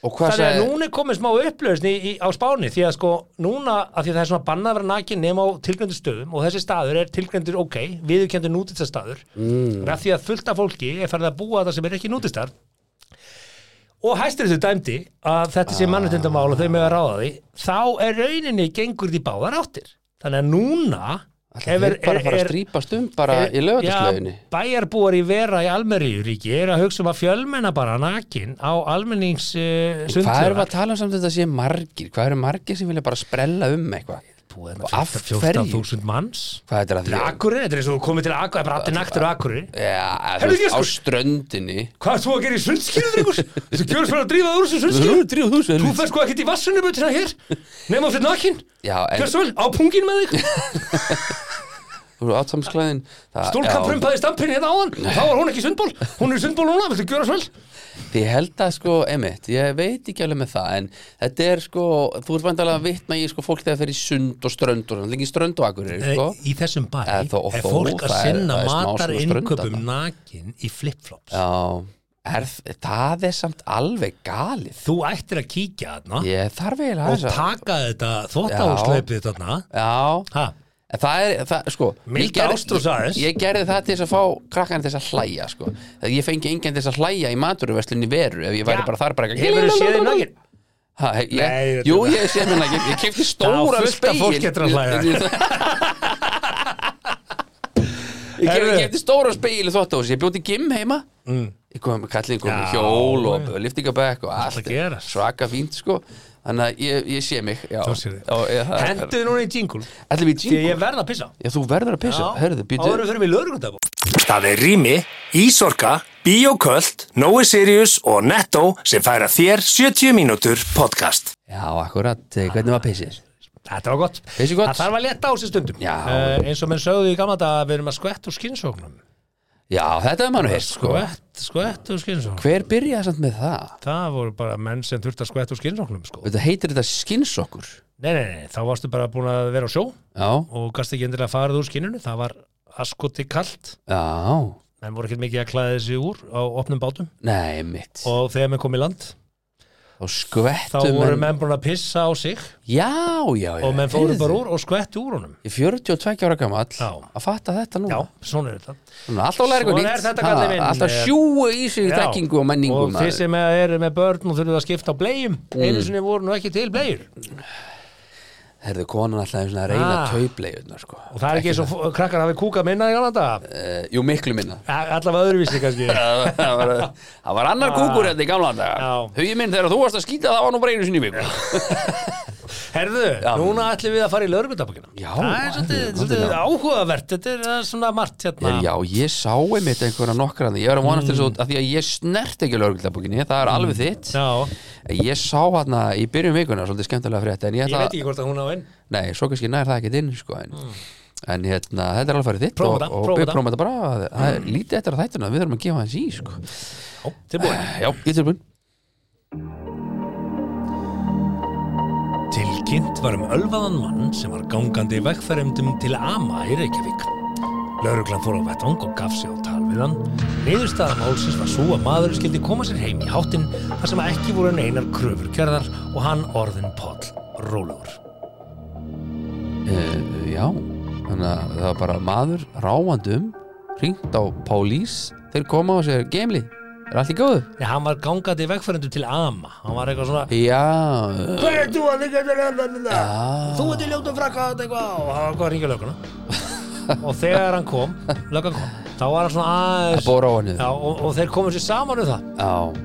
C: Og hvað
D: Þannig að
C: sagði,
D: núna er komið smá upplöðsn í, í, á Spáni því að sko núna að því að það er svona bannað að vera nakin nema á tilgrendur stöðum og þessi staður er tilgrendur ok, viðurkendur nútistastaður mm. að því að fullta fólki er farið að búa það sem er ekki nútistar og hæstir þessu dæmdi að þetta
C: Ah.
D: sé mannréttindamál og þau með að ráða því þá er rauninni gengur því báðar áttir þannig að núna
C: það er bara að fara að strýpast um bara í lögataslauginni
D: Já, bæjarbúar í vera í Almeríuríki er að hugsa um að fjölmenna bara nakin á almennings
C: Hvað erum
D: uh,
C: við
D: sundlögar.
C: að tala um samt þetta sé margir? Hvað eru margir sem vilja bara sprella um eitthvað?
D: Búið
C: Og
D: hérna
C: af
D: 14
C: hverju?
D: 14.000 manns.
C: Hvað þetta er að
D: Þetta
C: því?
D: er akkurinn, þetta er eins og þú komið til akkurinn, það er bara allir naktur á akkurinn.
C: Já, þú
D: Herðu,
C: veist, á
D: ég sko-
C: ströndinni
D: Hvað ert þú að gera í sundskilum, Ríkurs? Þú gjörur svona að drífa það úr þessu sundskilum. Þú ferð sko ekkert í vassunubutina hér, nema fyrir nakin.
C: Já, en
D: Hversu vel, á pungin með þig,
C: þú eru átamsklæðin
D: stólkampurinn paði stampin hérna áðan, þá var hún ekki í sundból, hún er í sundból núna, viltu gjöra svo vel?
C: Ég held að sko, emitt, ég veit ekki alveg með það En þetta er sko, þú ert vandalega að vitna í sko fólk þegar fer í sund og strönd og líka í strönd og akkurir, sko
D: Eh, Í þessum bæ
C: Eða þó- er þó, fólk að það er- sinna það er smá svona matarinnkaup strönd um þarna.
D: nakin í flipflops.
C: Já, er, það er samt alveg galið
D: Þú ættir að kíkja þarna
C: Ég þarf eiginlega aðeins að
D: taka þetta
C: þvottahúshlaupið
D: þarna.
C: Já, En Það er, það, sko ég
D: Milda
C: gerði-
D: Ástrós aðeins.
C: ég, ég gerði það til þess að fá krakkan til þess að hlæja, sko Þegar ég fengi engan til þess að hlæja í maturverslinni veru Ef ég væri
D: Já.
C: bara þar bara eitthvað-
D: Hefur þú séð þið nakin?
C: Ha, he- ég,
D: Nei, þetta-
C: jú, ég sé mér ekki, ég kefti
D: Það á
C: stóran
D: fullt af
C: speil
D: fólki eftir að hlæja.
C: Ég- Ég kefti,
D: Herðu. Mm.
C: kefti stóran speil í þvóttahúsi, ég bjóti gym heima Ég kom með kallin, kom með
D: Já.
C: hjól og liftingabæk og allt
D: að gerast.
C: Svaka fínt sko Þannig að ég, ég sé mig já.
D: Þú sér þig.
C: Og ég- það er-
D: Henduðu núna í jingle
C: Ætlum við
D: Því að
C: jingle?
D: ég verð að pissa
C: Já, þú verður að pissa, herðu, býtu
D: Áður fyrir mig lögregundabó
A: Það er Rými, Ísorka, Bíoköld, Nói Sirius og Netto sem færa þér 70 mínútur podcast.
C: Já, akkurat, eh, hvernig var pissið?
D: Þetta var gott
C: Pissi gott.
D: Það þarf að leta á sér stundum
C: Já.
D: Eh, Eins og menn sögðu í gamla dag að við erum að skvetta úr skinnsóknum
C: Já, þetta er maður heist sko
D: Skvett, skvett úr skinnsóknum
C: Hver byrjaði samt með það?
D: Það voru bara menn sem þurfti að skvetta úr skinnsóknum sko.
C: Þetta heitir þetta skinnsokkur
D: Nei, nei, nei, þá varstu bara búin að vera á sjó
C: Já,
D: og gast ekki endilega farið úr skinninu það var askoti kalt
C: já,
D: menn voru ekkert mikið að klæða þessi úr á opnum bátum
C: nei mitt
D: og þegar menn kom í land
C: Og
D: þá
C: skvettu
D: voru menn búin að pissa á sig
C: Já, já, já
D: og menn fóru
C: heyrðu.
D: bara úr og skvettu úr honum
C: Ég er 42 ára gamall
D: Já.
C: Að fatta þetta nú
D: Já, svona er þetta
C: Alltaf læra eitthvað
D: Svona
C: nýtt
D: er þetta,
C: Ha,
D: kallinn minn. Eh,
C: Alltaf sjúu í sig
D: Já.
C: þekkingu og menningu
D: Og þið
C: maður. Mm.
D: sem eru með börn og þurfum að skipta á bleiðum Einu sinni voru nú ekki til bleiður
C: Herðu, konan alltaf einu svona að reyna
D: Ah.
C: tauplegjurnar sko
D: Og það er ekki eins og f- krakkar hafi kúka minna í annan dag
C: Eh, Jú, miklu minna
D: Allavega öðruvísi kannski
C: það var, það var annar kúkur hérna í gamla daga
D: Já.
C: Hugið minn þegar þú varst að skýta það var nú bara einu sinni í viku
D: Herðu, núna ætlum við að fara í lögreglutabókina
C: Já,
D: Það er svolítið,
C: herðu,
D: svolítið áhugavert Þetta er eh, svona margt hérna
C: Já, ég sá einmitt einhverja nokkra þarna. Ég var að vonast til þess að af því að ég snert ekki lögreglabókinni, það er alveg þitt
D: Mm. Já,
C: Ég sá hérna í byrjun vikuna svolítið skemmtilega frétt en ég
D: ég
C: ætla
D: veit ekki hvort að hún á einn
C: Nei, svo kannski nær það ekkert inn sko, en, en hérna, þetta er alveg farið þitt
D: Prófum
C: og,
D: þetta,
C: og
D: prófum
C: við
D: þetta. Mm.
C: prófum þetta bara að- það er lítið eftir að þættuna, við þurfum að gefa hans í sko.
D: Já, tilbúin
C: Já, ég tilbúin
B: Tilkynning
D: Kynnt var um ölvaðan mann sem var gangandi vegferðumdum til Ama í Reykjavík. Lauruglan fór á vettvang og gaf sig á tal við hann. Niðurstaða málsins var svo að maðurinn skildi koma sér heim í háttinn þar sem ekki voru neinar kröfur gerðar og hann orðin Páll Rólugur.
C: Uh, já, þannig að það var bara maður ráfandum, ringt á pólís, þeir koma og segja Gemli, er allt í góðu?
D: Nei, hann var gangandi vegferðumdum til Ama. Hann var eitthvað svona...
C: Já,
D: Hvað er þú að þykja þetta lefnum þetta?
C: já,
D: Þú ert í ljótu frakka þetta eitthvað og hann var hvað að ringja löguna. og þegar hann kom, löggan kom, þá var hann svona
C: það
D: aðeins...
C: bóra á hennu
D: Já, og, og þeir komum sér saman um það.
C: Já,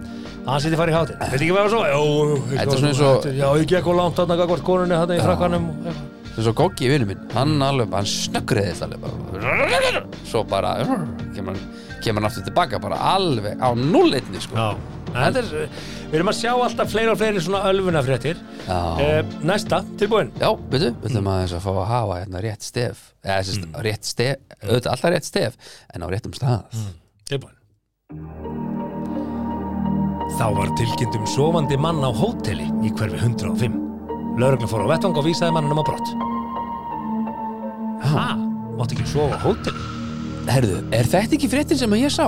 D: hann sýtti farið í hátinn veit ekki hvað það var svo Jú,
C: Þetta er svona eins og-
D: já, ég gekk og langt þarna gagvart konunni þarna í frakkanum
C: það er svo Goggi vinnu minn, hann alveg, bara- hann snöggriði þetta alveg bara Svo bara, kemur hann, kemur hann aftur tilbaka bara alveg á nullitni sko
D: já, en þetta er við erum að sjá alltaf fleira og fleiri svona ölfunafréttir
C: Já,
D: eh, næsta, tilbúin
C: já, veitu, við
D: Mm.
C: ætlum aðeins að fá að hafa hérna rétt stef Eða, sérst, rétt stef, auðvitað alltaf rétt stef, en á réttum stað
D: Mm. tilbúin þá var tilkynnt um sofandi mann á hóteli í hverfi 105 lauruglan fór á vettvang og vísaði mannum á brott ha, máttu ekki sofa á hóteli
C: Herðu, er þetta ekki fréttin sem að ég sá?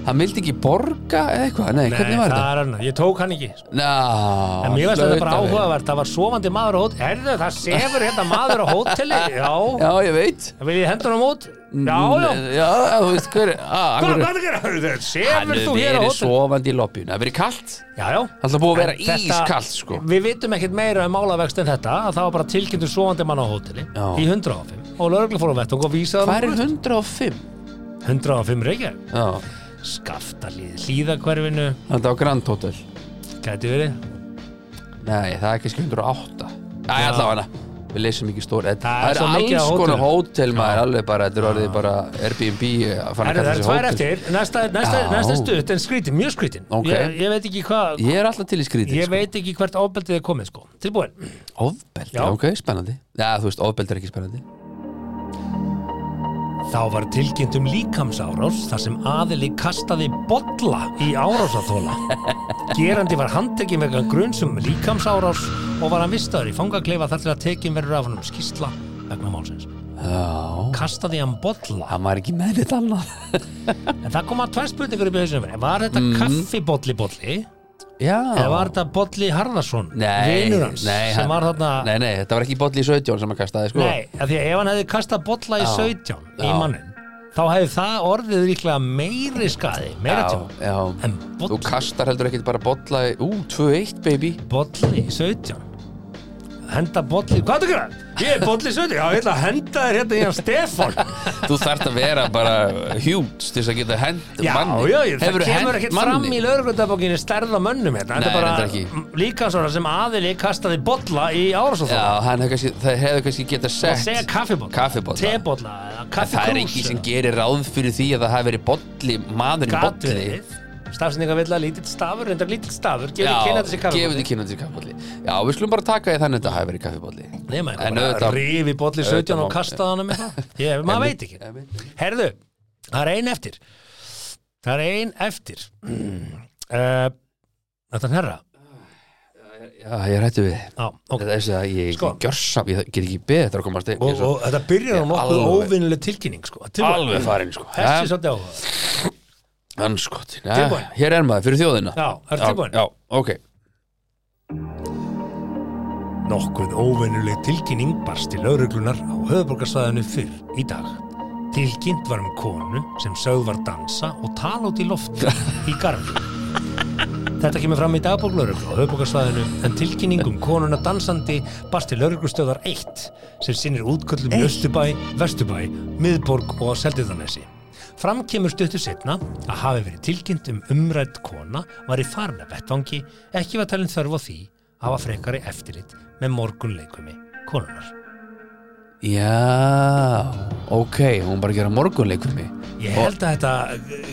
C: Hann vildi ekki borga eða eitthvað? Nei, hvernig var
D: það
C: þetta?
D: er annað, ég tók hann ekki
C: Ná,
D: En mér veist þetta
C: hlaut að
D: bara
C: vera.
D: áhugavert, það var sofandi maður á hóteli Herðu, það sefur hérna maður á hóteli Já,
C: Já, ég veit
D: það vil ég hendur hann út Já, já,
C: Já, þú veist hver ah,
D: hvað
C: hann er
D: hvað er það að gera? Herðu,
C: Hann
D: Sefur
C: er
D: þú hér á
C: verið
D: hóteli?
C: sofandi í lobbyun Það er verið kallt
D: Já, já
C: Það er búið að vera
D: En þetta-
C: ískallt sko
D: Við vitum ekkert meira um málavext en þetta að það var bara tilkynntur sofandi mann á hóteli
C: Já.
D: í 105 og lögreglu fór á vettung og vísaði
C: Hvað er
D: honum á brott.
C: 105?
D: 105 reykja
C: Já,
D: Skaftalíð, hlýðakverfinu,
C: þetta á Grand Hotel
D: gæti verið
C: Nei, það er kannski 108 Æ, allavega hana Við leysum ekki stór en
D: Það er
C: Það er
D: svo mikið
C: alls
D: af
C: konar
D: hótelum.
C: hótel maður Alveg bara, þetta er orðið bara Airbnb að fara að kalla
D: Herðu, það er
C: þessi hótel.
D: tvær eftir, næsta, næsta,
C: Já.
D: næsta stutt en skrítin, mjög skrítin
C: Ok.
D: ég, ég veit ekki hvað,
C: Ég er alltaf til í skrítið
D: ég
C: sko.
D: veit ekki hvert ábeldið er komið sko Tilbúin
C: Ofbeldi,
D: Já.
C: ok, spennandi Já, þú veist, ofbeldi er ekki spennandi
D: Þá var tilkynnt um líkamsárás þar sem aðili kastaði bolla í árásathóla. Gerandi var handtekinn vegna grunnsum líkamsárás og var hann vistaður í fangakleifa þar til að tekin verður af hann um skýsla vegna málsins.
C: Já,
D: Kastaði hann bolla?
C: hann var ekki með þetta annað
D: En það kom að tvær spurningur upp í hausnum. minni. Var þetta kaffibolli bolli?
C: Mhm. Já
D: Eða var þetta bolli Harðarsson?
C: Nei,
D: Vinur hans
C: nei,
D: sem
C: hann-
D: var þarna...
C: Nei, nei, þetta var ekki bolli í 17 sem að kastaði sko
D: Nei, af því að ef hann hefði kastað bolla í
C: Já.
D: 17 í
C: Já.
D: mannin, þá hefði það orðið líklega meiri skaði, meira
C: já,
D: tjón.
C: já
D: En
C: Þú
D: boll,
C: kastar heldur ekkit bara bolla í, Ú, 2-1 baby
D: bolli 17 Henda bolli, hvað er það að gera? Ég er bolli 17, já ég ætla að henda þér hérna í hann Stefán
C: Þú þarft að vera bara huge til þess að geta hend
D: Já,
C: manni
D: já, ég, það
C: Hefurðu
D: kemur
C: hent
D: ekkert
C: manni?
D: fram í lauruglundabókinni stærða mönnum hérna
C: Nei,
D: Þetta
C: reyndar
D: er
C: ekki.
D: bara líkansóra sem aðili kastaði bolla í
C: Já,
D: árásóþóla
C: hann hefði kannski, það hefði kannski geta
D: og segja
C: sett
D: kaffibolla,
C: Kaffibolla.
D: tebolla eða
C: Það er ekki sem
D: kaffikrús
C: gerir ráð fyrir því að það hafi verið bolli, maðurinn bolli
D: Gatverið, stafsendingavilla, lítill stafur, reyndar lítill stafur, gefur
C: Já,
D: kynna þessi
C: gefur
D: kaffibolla
C: þið kynna þessi kaffibólli Já, við skulum bara taka því þannig að þetta hafi verið kaffibólli
D: Nei, maður
C: En
D: eitthvað bara
C: auðvitað-
D: rifi bolli 17
C: auðvitað
D: og
C: má-
D: kastaði hann um eitthvað Ég- Maður veit ekki Herðu, það er ein eftir Það er ein eftir uh, Þetta er herra
C: Já, ég rættu við
D: á, ok.
C: Það er þess að ég
D: Sko.
C: gjörsam, ég get ekki beðið þetta að komast inn
D: og,
C: Ég er svo
D: og þetta byrjar á nokkuð
C: alveg-
D: óvinnileg tilkynning sko.
C: Alveg farin, sko
D: Þessi svolítið áhuga
C: Anskotin,
D: Tilbúin.
C: ja, hér er maður, fyrir þjóðina
D: Já, er tilbúin
C: Já, ok
D: Nokkuð óvennuleg tilkynning barst til lauruglunar á höfuborgarsvæðinu fyrr í dag. Tilkynnt var um konu sem sögð var dansa og tala út í lofti í garfi. Þetta kemur fram í dagbók lauruglu á höfuborgarsvæðinu en tilkynning um konuna dansandi barst til lauruglustöðar 1 sem sinnir útköllum í Östubæ, Vestubæ, Miðborg og á Seldiðanesi. Fram kemur stuttu setna að hafi verið tilkynnt um umrætt kona var í farna vettvangi ekki var talin þörf á því að hafa frekari eftirlit með morgunleikumi konunar.
C: Já, ok, hún var bara að gera morgunleik fyrir mig
D: Ég
C: Og
D: held að þetta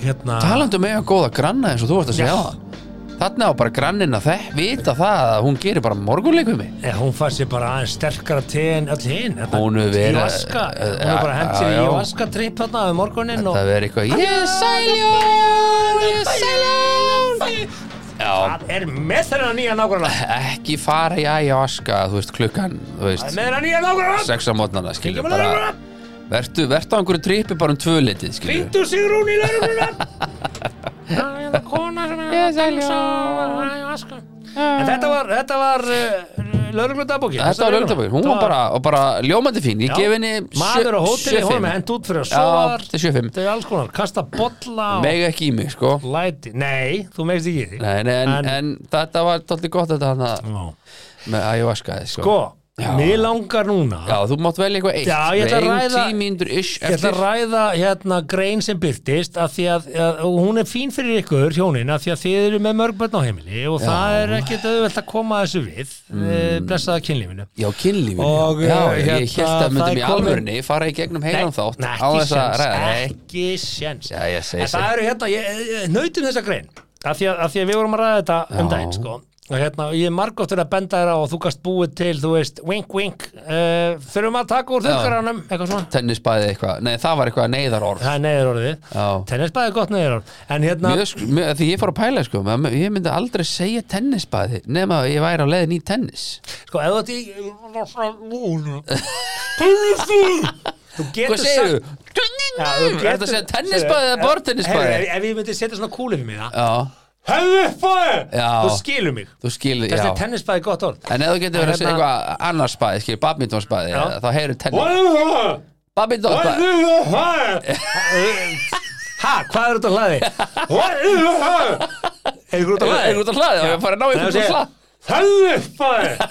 D: hérna...
C: Talandi um eiga góða granna eins og þú varst að segja
D: Já.
C: það Þarna á bara grannina þekk, vita það að hún gerir bara morgunleik fyrir mig
D: Eh, hún fær sér bara aðeins sterkara te en öll hinn. Þetta
C: Hún hefur verið-
D: Ívaska.
C: eh,
D: Hún hefur bara hent sér í
C: já, já.
D: Ívaska tripp hérna um morgunin og...
C: Það verður eitthvað Ég er sæljón, ég er sæljón
E: Alveg
C: Já,
D: Það er með þennan nýja nágrunna
C: Eh, ekki fara í ayahuasca, þú veist, klukkan, þú veist,
D: Með þennan nýja nágrunna
C: sex á mótnana, skilur,
D: Kíkjum á
C: bara,
D: lögregluna.
C: vertu, vertu á einhverju trippi bara um tvölitið, skilur.
D: Hringdu Sigrún í laurugluna Það er það kona sem er að dansa og ayahuasca. En þetta var, þetta var uh, lauruglundabóki
C: Þetta var lögndabókin, hún var bara, og bara ljómandi fín, ég gef henni
D: Maður á hóteli, hún var með hend út fyrir að sofa
C: Já,
D: þar.
C: þetta er 75.
D: Þetta er alls konar, kasta bolla og
C: Mega ekki í mig, sko.
D: læti Nei, þú megst ekki í því
C: Nei, nei, en,
D: En-
C: en, þetta var tóttið gott þetta hann að,
E: Já.
C: með ayahuasca, sko.
D: Sko,
C: Já.
D: mér langar núna
C: Já, þú mátt velja eitthvað eitt.
D: Já, ég ætla að ræða-
C: Tímíndur ish
D: Ég
C: eftir.
D: ætla að ræða hérna grein sem byrtist að því að, að og hún er fín fyrir ykkur hjónin að því að þið eru með mörg börn á heimili og það er ekkert auðvelt að koma þessu við mm. blessaða kynlífinu
C: Já, kynlífinu.
D: Og,
C: já,
D: eh,
C: já, ég
D: hérna,
C: held að
D: það
C: myndum
D: er
C: í
D: komin-
C: alvörni fara í gegnum heilan þátt
D: Nei,
C: á
D: ekki
C: þess að
D: séns,
C: ræða. Nei,
D: ekki séns
C: Já, ég segi
D: en það
C: sér.
D: eru hérna, ég, ég nautum þessa grein af því að, að því að við vorum að ræða þetta um
C: Já.
D: daginn sko og hérna, ég er margótt verið að benda þér á og þú gast búið til, þú veist, wink wink uh, þurfum að taka úr þurrkaranum eitthvað svona,
C: tennisbæði eitthvað. Nei, það var eitthvað neyðarorð.
D: það er neður orðið
C: Já.
D: tennisbæði er gott neður orð en hérna,
C: Mjög, sk- mjög, því ég fór að pæla sko með- ég myndi aldrei segja tennisbæði nema að ég væri á leiðin í tennis
D: Sko, ef þú ert í Tennisbúð Þú getur
C: Hvað segir þú? Tennis- Ertu að segja tennisbæði eða
D: Heyrðu,
C: bortennisbæði?
D: ef- Ef ég myndi setja svona kúli fyrir mig það
C: Já,
D: Hefðu upp á þau
C: Já.
D: Þú skilur mig
C: þú skilur,
D: Þessi
C: já
D: tennisbæði er gott orð
C: En ef þú getur verið að segja
D: Hérna-
C: eitthvað annars spæði, skilur, badmintonspæði
D: Já.
C: þá heyrðu tennis
D: Hefðu
C: Badmintonspæði
D: upp á þau Ha, hvað er þetta að hlaði? Hefðu upp á þau Hefðu út
C: Er
D: að
C: þú
D: hlaði?
C: út að hlaði? Ég fara að ná
D: Nei, þú
C: ykkur
D: segir,
C: úr hlað
D: Hefðu upp á þau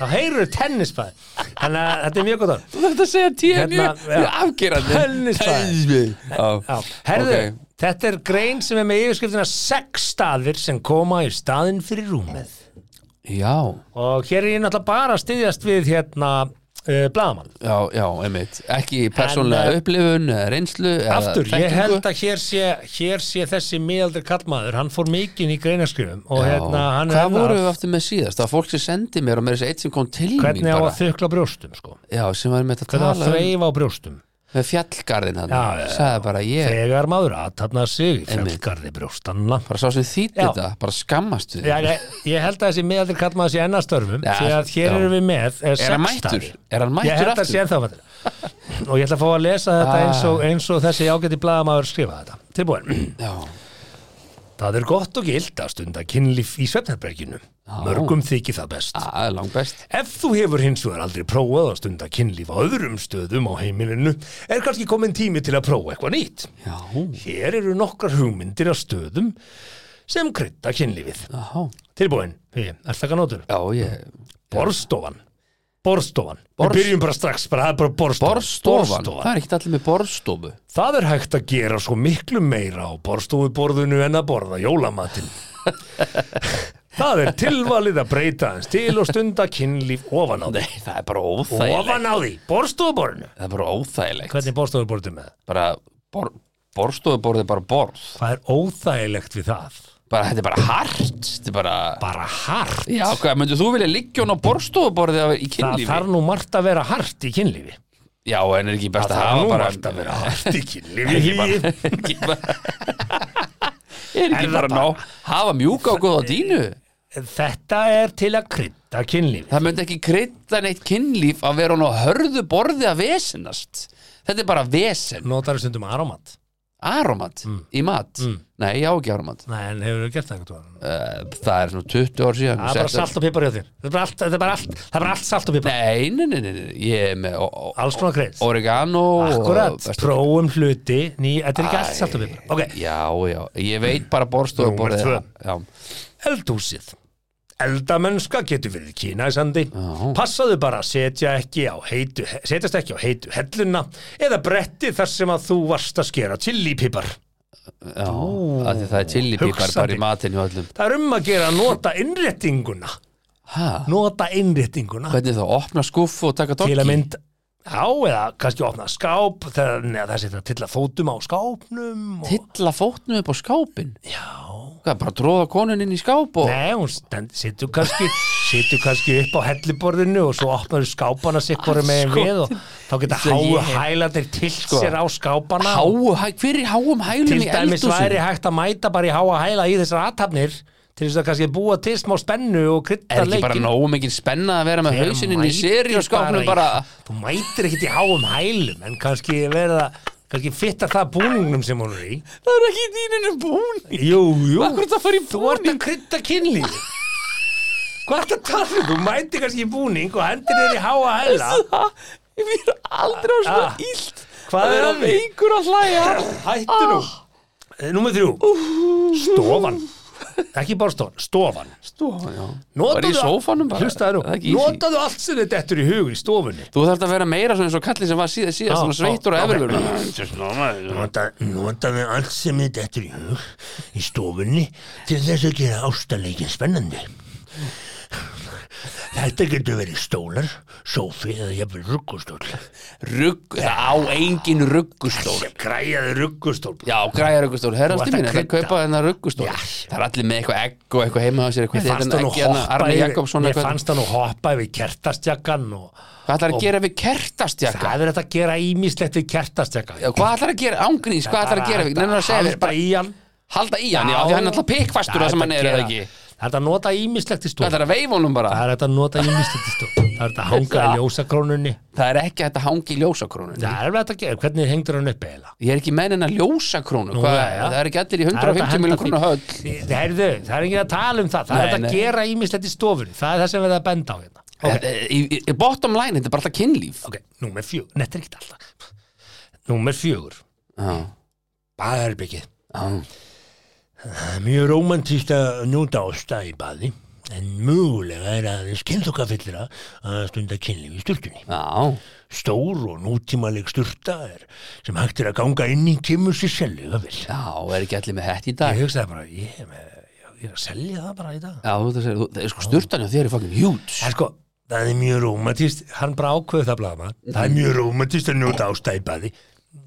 D: Þá heyrur þau tennisbæði Þannig að þetta er mjög gott orð
C: Þú þarft að segja TNU
D: Hérna,
C: Við
D: já.
C: afgerandi
D: Tennisbæði. Já,
C: Tennisbæði
D: herðu, þetta er grein sem er með yfirskriftina sex staðir sem koma í staðinn fyrir rúmið
C: Já,
D: og hér er ég náttúrulega bara að styðjast við hérna uh, blaðamann
C: já, já, einmitt Ekki persónlega
D: En, eh,
C: upplifun, eh, reynslu eða
D: Aftur, ég
C: þekkingu.
D: held að hér sé, hér sé þessi miðaldri kallmaður, hann fór mikinn í greinaskrifum og
C: Já.
D: hérna hann
C: Hvað
D: hérna-
C: voru við aftur með síðast? Það var fólk sem sendi mér og mér þess að eitt sem kom til mín
D: hvernig á
C: bara
D: að þukla brjóstum sko
C: Já, sem var með að
D: hvernig á
C: tala
D: að
C: um,
D: þreifa á brjóstum
C: með fjallgarðin hann
D: Já, já, já.
C: Sagði bara ég,
D: þegar maður aðtapnaði sig í
C: Einmitt.
D: fjallgarði brjóstanna
C: bara sá sem þýtti
D: Já.
C: þetta bara skammast við
D: Já, ég, ég held að þessi miðaldri kallmaður sé ennastörfum
C: Já,
D: því að hér
C: já.
D: erum við með eh,
C: Er hann
D: sex
C: mættur?
D: staði.
C: Er hann
D: Ég
C: mættur
D: held að
C: aftur?
D: sé ennþá maður Og ég ætla að fá að lesa þetta
C: Ah.
D: eins, og, eins og þessi ágæti blaðamaður skrifa þetta Tilbúin
C: Já,
D: Það er gott og gilt að stunda kynlíf í svefnherberginu Mörgum þykir það best
C: það er langt best
D: Ef þú hefur hins vegar aldrei prófað að stunda kynlíf á öðrum stöðum á heimilinu er kannski komin tími til að prófa eitthvað nýtt
C: Já,
D: Hér eru nokkrar hugmyndir að stöðum sem krydda kynlífið
C: já,
D: Tilbúin, er það nótur?
C: já, ég
D: Borstofan Borstofan Við byrjum bara strax, bara, það er bara borstofan
C: Borstofan, það er ekkert allir með borstofu
D: Það er hægt að gera svo miklu meira á borstofuborðinu en að borða jólamatinn. Það er tilvalið að breyta hans til og stunda kynlíf ofan á því.
C: Nei, það er bara
D: Ofan á því, borstofuborðinu.
C: Það er bara óþægilegt
D: Hvernig borstofuborðinu með?
C: bara bor, borstofuborð er bara borð
D: Það er óþægilegt við það.
C: bara, þetta er bara hart þetta er bara,
D: Bara hart.
C: já, hvað, myndir þú vilja liggja hún á borstofuborði af- í
D: Það
C: kynlífi?
D: þarf nú margt að vera hart í kynlífi.
C: já, en er ekki best
D: Það
C: að
D: þarf
C: hafa
D: nú
C: bara
D: margt að vera hart í kynlífi.
C: er ekki bara er
D: Er
C: ekki
D: það
C: bara að ná hafa mjúka og góða dínu
D: Þetta er til að krydda kynlífi.
C: það myndi ekki krydda neitt kynlíf að vera hún á hörðu borði að vesenast þetta er bara vesen
D: Notar þú stundum aromat?
C: aromat
D: Mm.
C: í mat nei, ég á ekki aromat
D: Nei, en hefur þú gert það eitthvað?
C: Uh, það er svona 20 ár síðan
D: Það er bara salt og pipar hjá þér Það er bara allt, það er bara allt, það er bara allt salt og pipar
C: Nei, nei, nei, nei, nei, ég er með o- o-
D: Alls konar kreis
C: oregano og-
D: Akkurat,
C: best-
D: prófum hluti ný, Þetta er ekki allt
C: Æ,
D: salt og pipar Ok,
C: Já, já, ég veit bara borstofu borðið
D: tvö.
C: Já,
D: eldhúsið Eldamennska getur verið kínæsandi
C: Já.
D: Passaðu bara að setja ekki á heitu setjast ekki á heitu helluna eða bretti þar sem að þú varst að skera chilipipar
C: já, af því það er chilipípar bara
D: hugsandi.
C: í matinn hjá öllum
D: Það er um að gera að nota innréttinguna
C: Hæ,
D: Nota innréttinguna
C: hvernig þá, opna skúfu og taka
D: til
C: dokki
D: að mynd Já, eða kannski opna skáp þegar, neða, það setja til að fótum á skápnum og...
C: Tilla fótnum upp á skápin
D: Já,
C: Hvað, bara tróða konun inn í skáp og
D: Nei, hún stend, situr kannski situr kannski upp á helliborðinu og svo opnar skápana sér hvori megin
C: Sko,
D: við og þá geta
C: eins og
D: háu
C: ég-
D: hælandir tilt sér á skápana og
C: háu, hæ, hver er háum hælum
D: til
C: í
D: dæmis væri
C: eldúsinu?
D: hægt að mæta bara í háa hæla í þessar athafnir til þess að kannski búa til smá spennu og
C: Er
D: krydda
C: ekki bara
D: leikin
C: nógu mikið spenna að vera með hausinn inn í seri og skápnum bara
D: Þú mætir ekkit í háum hælum en kannski verða kannski fitta það búningnum sem hún er í
C: Það er ekki þíninu búning
D: Jú, jú
C: Akkur það fara í
D: Þú ert að krydda kynlíf Hvað ert að tala um? Þú mæti kannski í búning og hendir þér í háa hæla
C: Ég fyrir aldrei á svona
D: Ah.
C: illt
D: Hvað
C: Það
D: er
C: er
D: að
C: að veikur að hlæja Ah,
D: Hættu nú Eh, Númer þrjú Stofan Ekki bara stofan, stofan
C: Stofa, já Var
D: Notaðu
C: í sófanum bara
D: Hlustaðu
C: Það er
D: nú
C: ekki easy.
D: Notaðu allt sem þetta eftir í hug í stofunni
C: Þú þarf að vera meira svona eins og kallið sem var síðan síðan svona
D: Já,
C: sveittur og
D: já,
C: efurlur
D: Nota- Notaðu allt sem þetta eftir í hug í stofunni til þess að gera ástaleikin spennandi Þetta getur verið stólar, sófi eða jafnvel ruggustól
C: Rugg, það á engin ruggustól
D: Græjaði ruggustól
C: Já, græja ruggustól, herrast í
D: Þú ert
C: mín Það er
D: að
C: að
D: krydda.
C: kaupa þennan ruggustól
D: Já.
C: Það er allir með eitthvað egg og eitthvað heima á sér
D: Mér
C: eitthvað
D: fannst hann nú
C: egg hérna,
D: hoppa
C: Arne
D: yfir-
C: Jakobsson
D: Mér
C: eitthvað
D: fannst hann nú hoppa yfir kertastjakkan og
C: Hvað ætlar
D: og-
C: að gera við kertastjaka?
D: það er þetta að gera ímislegt við kertastjakkan
C: Já, Hvað ætlar að gera, ángríns, hvað ætlar að gera við? Nennar að segja við,
D: bara
C: bara
D: í hann
C: halda í hann Já, því hann er alltaf pikkfastur það sem hann er eða ekki
D: Það er þetta að nota ímislegt í
C: Það
D: stof
C: er að veifa honum bara
D: Það er þetta að nota ímislegt í stof Það er þetta að hanga í
C: Það-
D: ljósakrónunni
C: Það er ekki hægt að hangi í ljósakrónunni
D: Það er þetta að gera, hvernig hengdur hann upp eiginlega
C: Ég er ekki með hennar ljósakrónu
D: Nú,
C: Hvað,
D: jæja.
C: Það er ekki allir í
D: Það er hægt að
C: 150 miljón
D: henda
C: krónu höll
D: Þi- Heyrðu, það er enginn að tala um það Það
C: Nei,
D: er þetta
C: nei.
D: að gera ímislegt í stofunni Það er það sem við erum að benda á hérna
C: okay. í, í, í Bottom line, þetta er bara alltaf kynlíf
D: Ok, númer fjögur, Nei, þetta er ekkert alltaf Númer fjögur,
C: Já,
D: baðherbyggið
C: já
D: Það er mjög romantíst að njóta ásta í baði en mögulega er aðeins kynþokkafyllra að stunda kynlíf í sturtunni.
C: Já,
D: Stór og nútímaleg sturta er sem hægt er að ganga inn í kemur sér seljuga vel.
C: já, er ekki allir með hett í dag
D: Ég
C: Já,
D: hugsaði bara, ég, er með, ég er að selja það bara í dag.
C: þú veist að það er sko sturtan og þér er fucking huge
D: En sko, það er mjög romantíst, hann bara ákveðu það blaða það er mjög romantíst að njóta ásta í baði.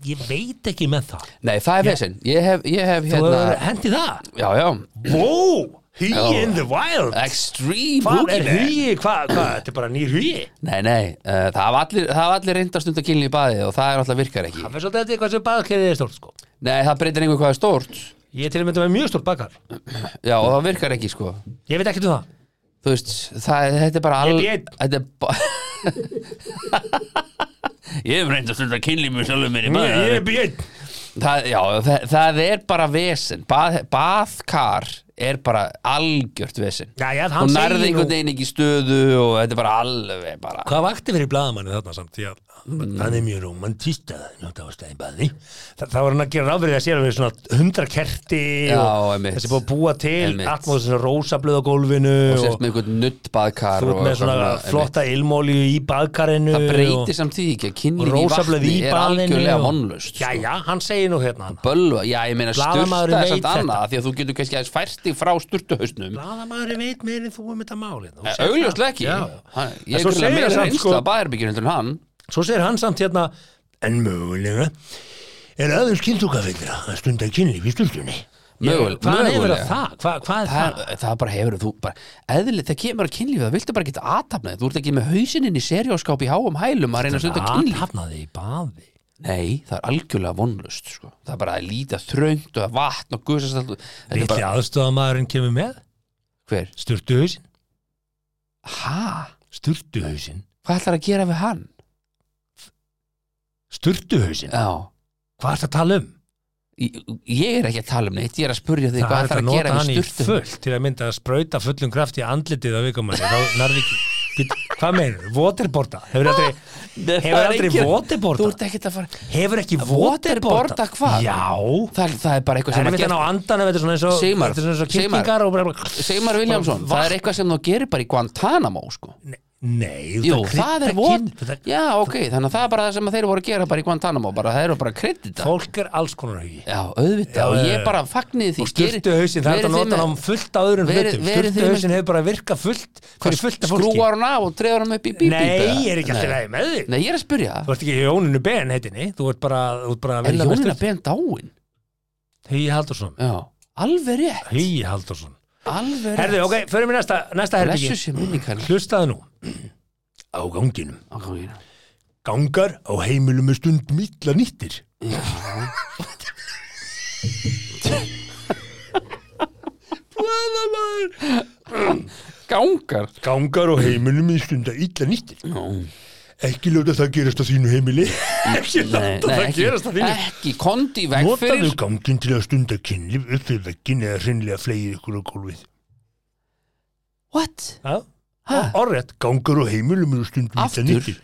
D: Ég veit ekki með það.
C: Nei, það er vesinn, ég hef, ég hef
D: Þú
C: hérna
D: hefur hendið það?
C: Já, já,
D: Wow, he
C: Já.
D: in the wild.
C: extreme
D: Hvað Eh, er
C: boogeyman.
D: hugi? Hvað, hvað, þetta er bara nýr hugi?
C: Nei, nei, uh, það hafa allir, það hafa allir reynda stund að kynlíf í baði og það er alltaf virkar ekki
D: Það fyrir svolítið eftir hvað sem baðkerið er stórt sko.
C: Nei, það breytir einhver hvað er stórt
D: Ég er til að mynda með mjög stórt baðkar
C: Já, og það virkar ekki sko
D: Ég veit ekkert um það
C: Þú veist, það, þetta er bara all...
D: Ég björn.
C: Þetta er bara Ég hef reynd að stunda kynlíf með sjálfum mér í
D: Ég, ég
C: maður
D: er björn
C: það, Já, það, það er bara vesen Bað, Baðkar er bara algjört vesen
D: Jæja, hann
C: Þú
D: segir
C: nærði
D: nú-
C: einhvern veginn ekki í stöðu og þetta er bara alveg bara
D: Hvað vakti fyrir blaðamanni þarna samt? Já.
C: Mm.
D: Hann er mjög romantista njóta á stæðin baði Þa, Það var hann að gera ráfrið að sér að við svona hundra kerti
C: Já,
D: og
C: einmitt.
D: þessi búið að búa til
C: Einmitt.
D: atmóð svona rósablöð á gólfinu
C: Þú
D: og,
C: sérst með einhvern nutt baðkar
D: þú ert
C: og
D: með svona
C: eitthvað
D: flotta ilmóli í baðkarinu
C: Það
D: og,
C: breytir samt því ekki að
D: og
C: kynlíf í
D: rósablöð
C: vatni
D: í
C: er
D: baðinu
C: algjörlega
D: og-
C: vonlaust sko.
D: Jæja, hann segir nú hérna
C: Bölva, já ég meina styrta
D: Blaðamaðurinn
C: er
D: veit
C: samt
D: þetta.
C: annað af því að þú getur kannski aðeins fært þig frá sturtuhausnum
D: Blaðamæður veit meir en þú um þetta máli
C: augljóslega ekki
D: Já, já.
C: Hann-
D: En
C: ég
D: svo
C: er grunlega
D: segir
C: meira
D: hann samt,
C: reynsla
D: sko-
C: að bæðherbyggjur heldur en hann
D: Svo segir hann samt hérna En mögulega Er aðeins kynntúkafeindra að stunda kynlíf í sturtunni
C: mögul,
D: Hvað hefur
C: mögulega
D: að það? Hvað, hvað er það?
C: Það, það bara hefur þú bara, eðlið, það kemur að kynlífi það viltu bara geta aðtapnað, þú ert ekki með hausininn í serióskáp í háum hælum að reyna að stunda kynlíf
D: Athafnaði í baði
C: nei, það er algjörlega vonlust sko. það er bara að líta þröngt og að vatn og gusast allt Þetta er
D: Lítli
C: bara,
D: aðstofamæðurinn kemur með
C: hver,
D: Sturtuhausin
C: ha,
D: Sturtuhausin
C: hvað ætlar að gera við hann
D: Sturtuhausin
C: já,
D: Hvað ertu að tala um?
C: ég, ég er ekki að tala um neitt ég er að spurja þig
D: Það
C: hvað
D: er
C: ætlar
D: að
C: að
D: nota
C: gera
D: hann í
C: við sturtu
D: full Til að mynda að sprauta fullum kraft í andlitið á vikumanni Þá nærði ekki Bíddu, Hvað meinur? Waterborda? Hefur aldrei,
C: Nei, það
D: hefur
C: er
D: aldrei
C: engin-
D: waterborda?
C: þú ert ekki að fara
D: Hefur ekki
C: Waterboarda
D: waterborda?
C: hvað?
D: Já
C: það, er- það er bara eitthvað
D: Það
C: sem
D: er
C: að
D: mitt að ná
C: gera
D: andanum, þetta er svona eins og
C: Sigmar,
D: þetta er svona eins og
C: Sigmar.
D: kynningar og bara
C: Seymar Viljámsson, það er eitthvað sem þú gerir bara í Guantanamo sko.
D: Nei, Nei,
C: Jú,
D: þetta
C: það er
D: kryddar
C: von
D: kyn- þetta-
C: Já, ok, þannig að það er bara það sem að þeir voru að gera bara í Guantanamo, bara þeir eru bara að kredita
D: Fólk er alls konar hugi
C: Já, auðvitað,
D: Já,
C: og
D: já,
C: ég
D: já.
C: bara fagnið því
D: Og sturtu hausin, það er
C: Verið
D: þetta að
C: þið
D: nota
C: með-
D: hann fullt á öðrum
C: verið-
D: hlutum
C: verið þið
D: Sturtu
C: með-
D: hausin hefur bara virkað fullt
C: Hvað,
D: fyrir fullt af fólki
C: skrúar hann af og treður hann upp í bíbí
D: Nei, ég er ekki alltaf leið með þig
C: Nei, ég er að spyrja,
D: Þú ert ekki í Jóninu Ben heitinni Þú ert bara, þú ert bara að
C: er
D: vinna með
C: Jónina
D: styrtu
C: Ben dáin?
D: Hugi Haldursson
C: Já, alveg rétt
D: Hugi Haldursson
C: Alveg rétt
D: Herðu, ok, förum við næsta, næsta
C: Blessu
D: herbyggi
C: sér minning hann
D: Hlustaðu nú Á ganginum
C: Á ganginum.
D: Gangar á heimilum er stund mítla nýttir
C: Gangar
D: Gangar á heimilum er stund að illa nýttir Ekki láta það gerast á þínu heimili Ekki
C: Nei,
D: láta
C: nei,
D: það
C: ekki,
D: gerast á þínu
C: ekki kondi í veg
D: Notaðu
C: fyrir
D: gangin til að stunda kynlif upp fyrir veggin eða hreinlega flegið ykkur á gólfið
C: What?
D: Já, orðrétt Gangar á heimilum eru stundum
C: Aftur?
D: illa nýttir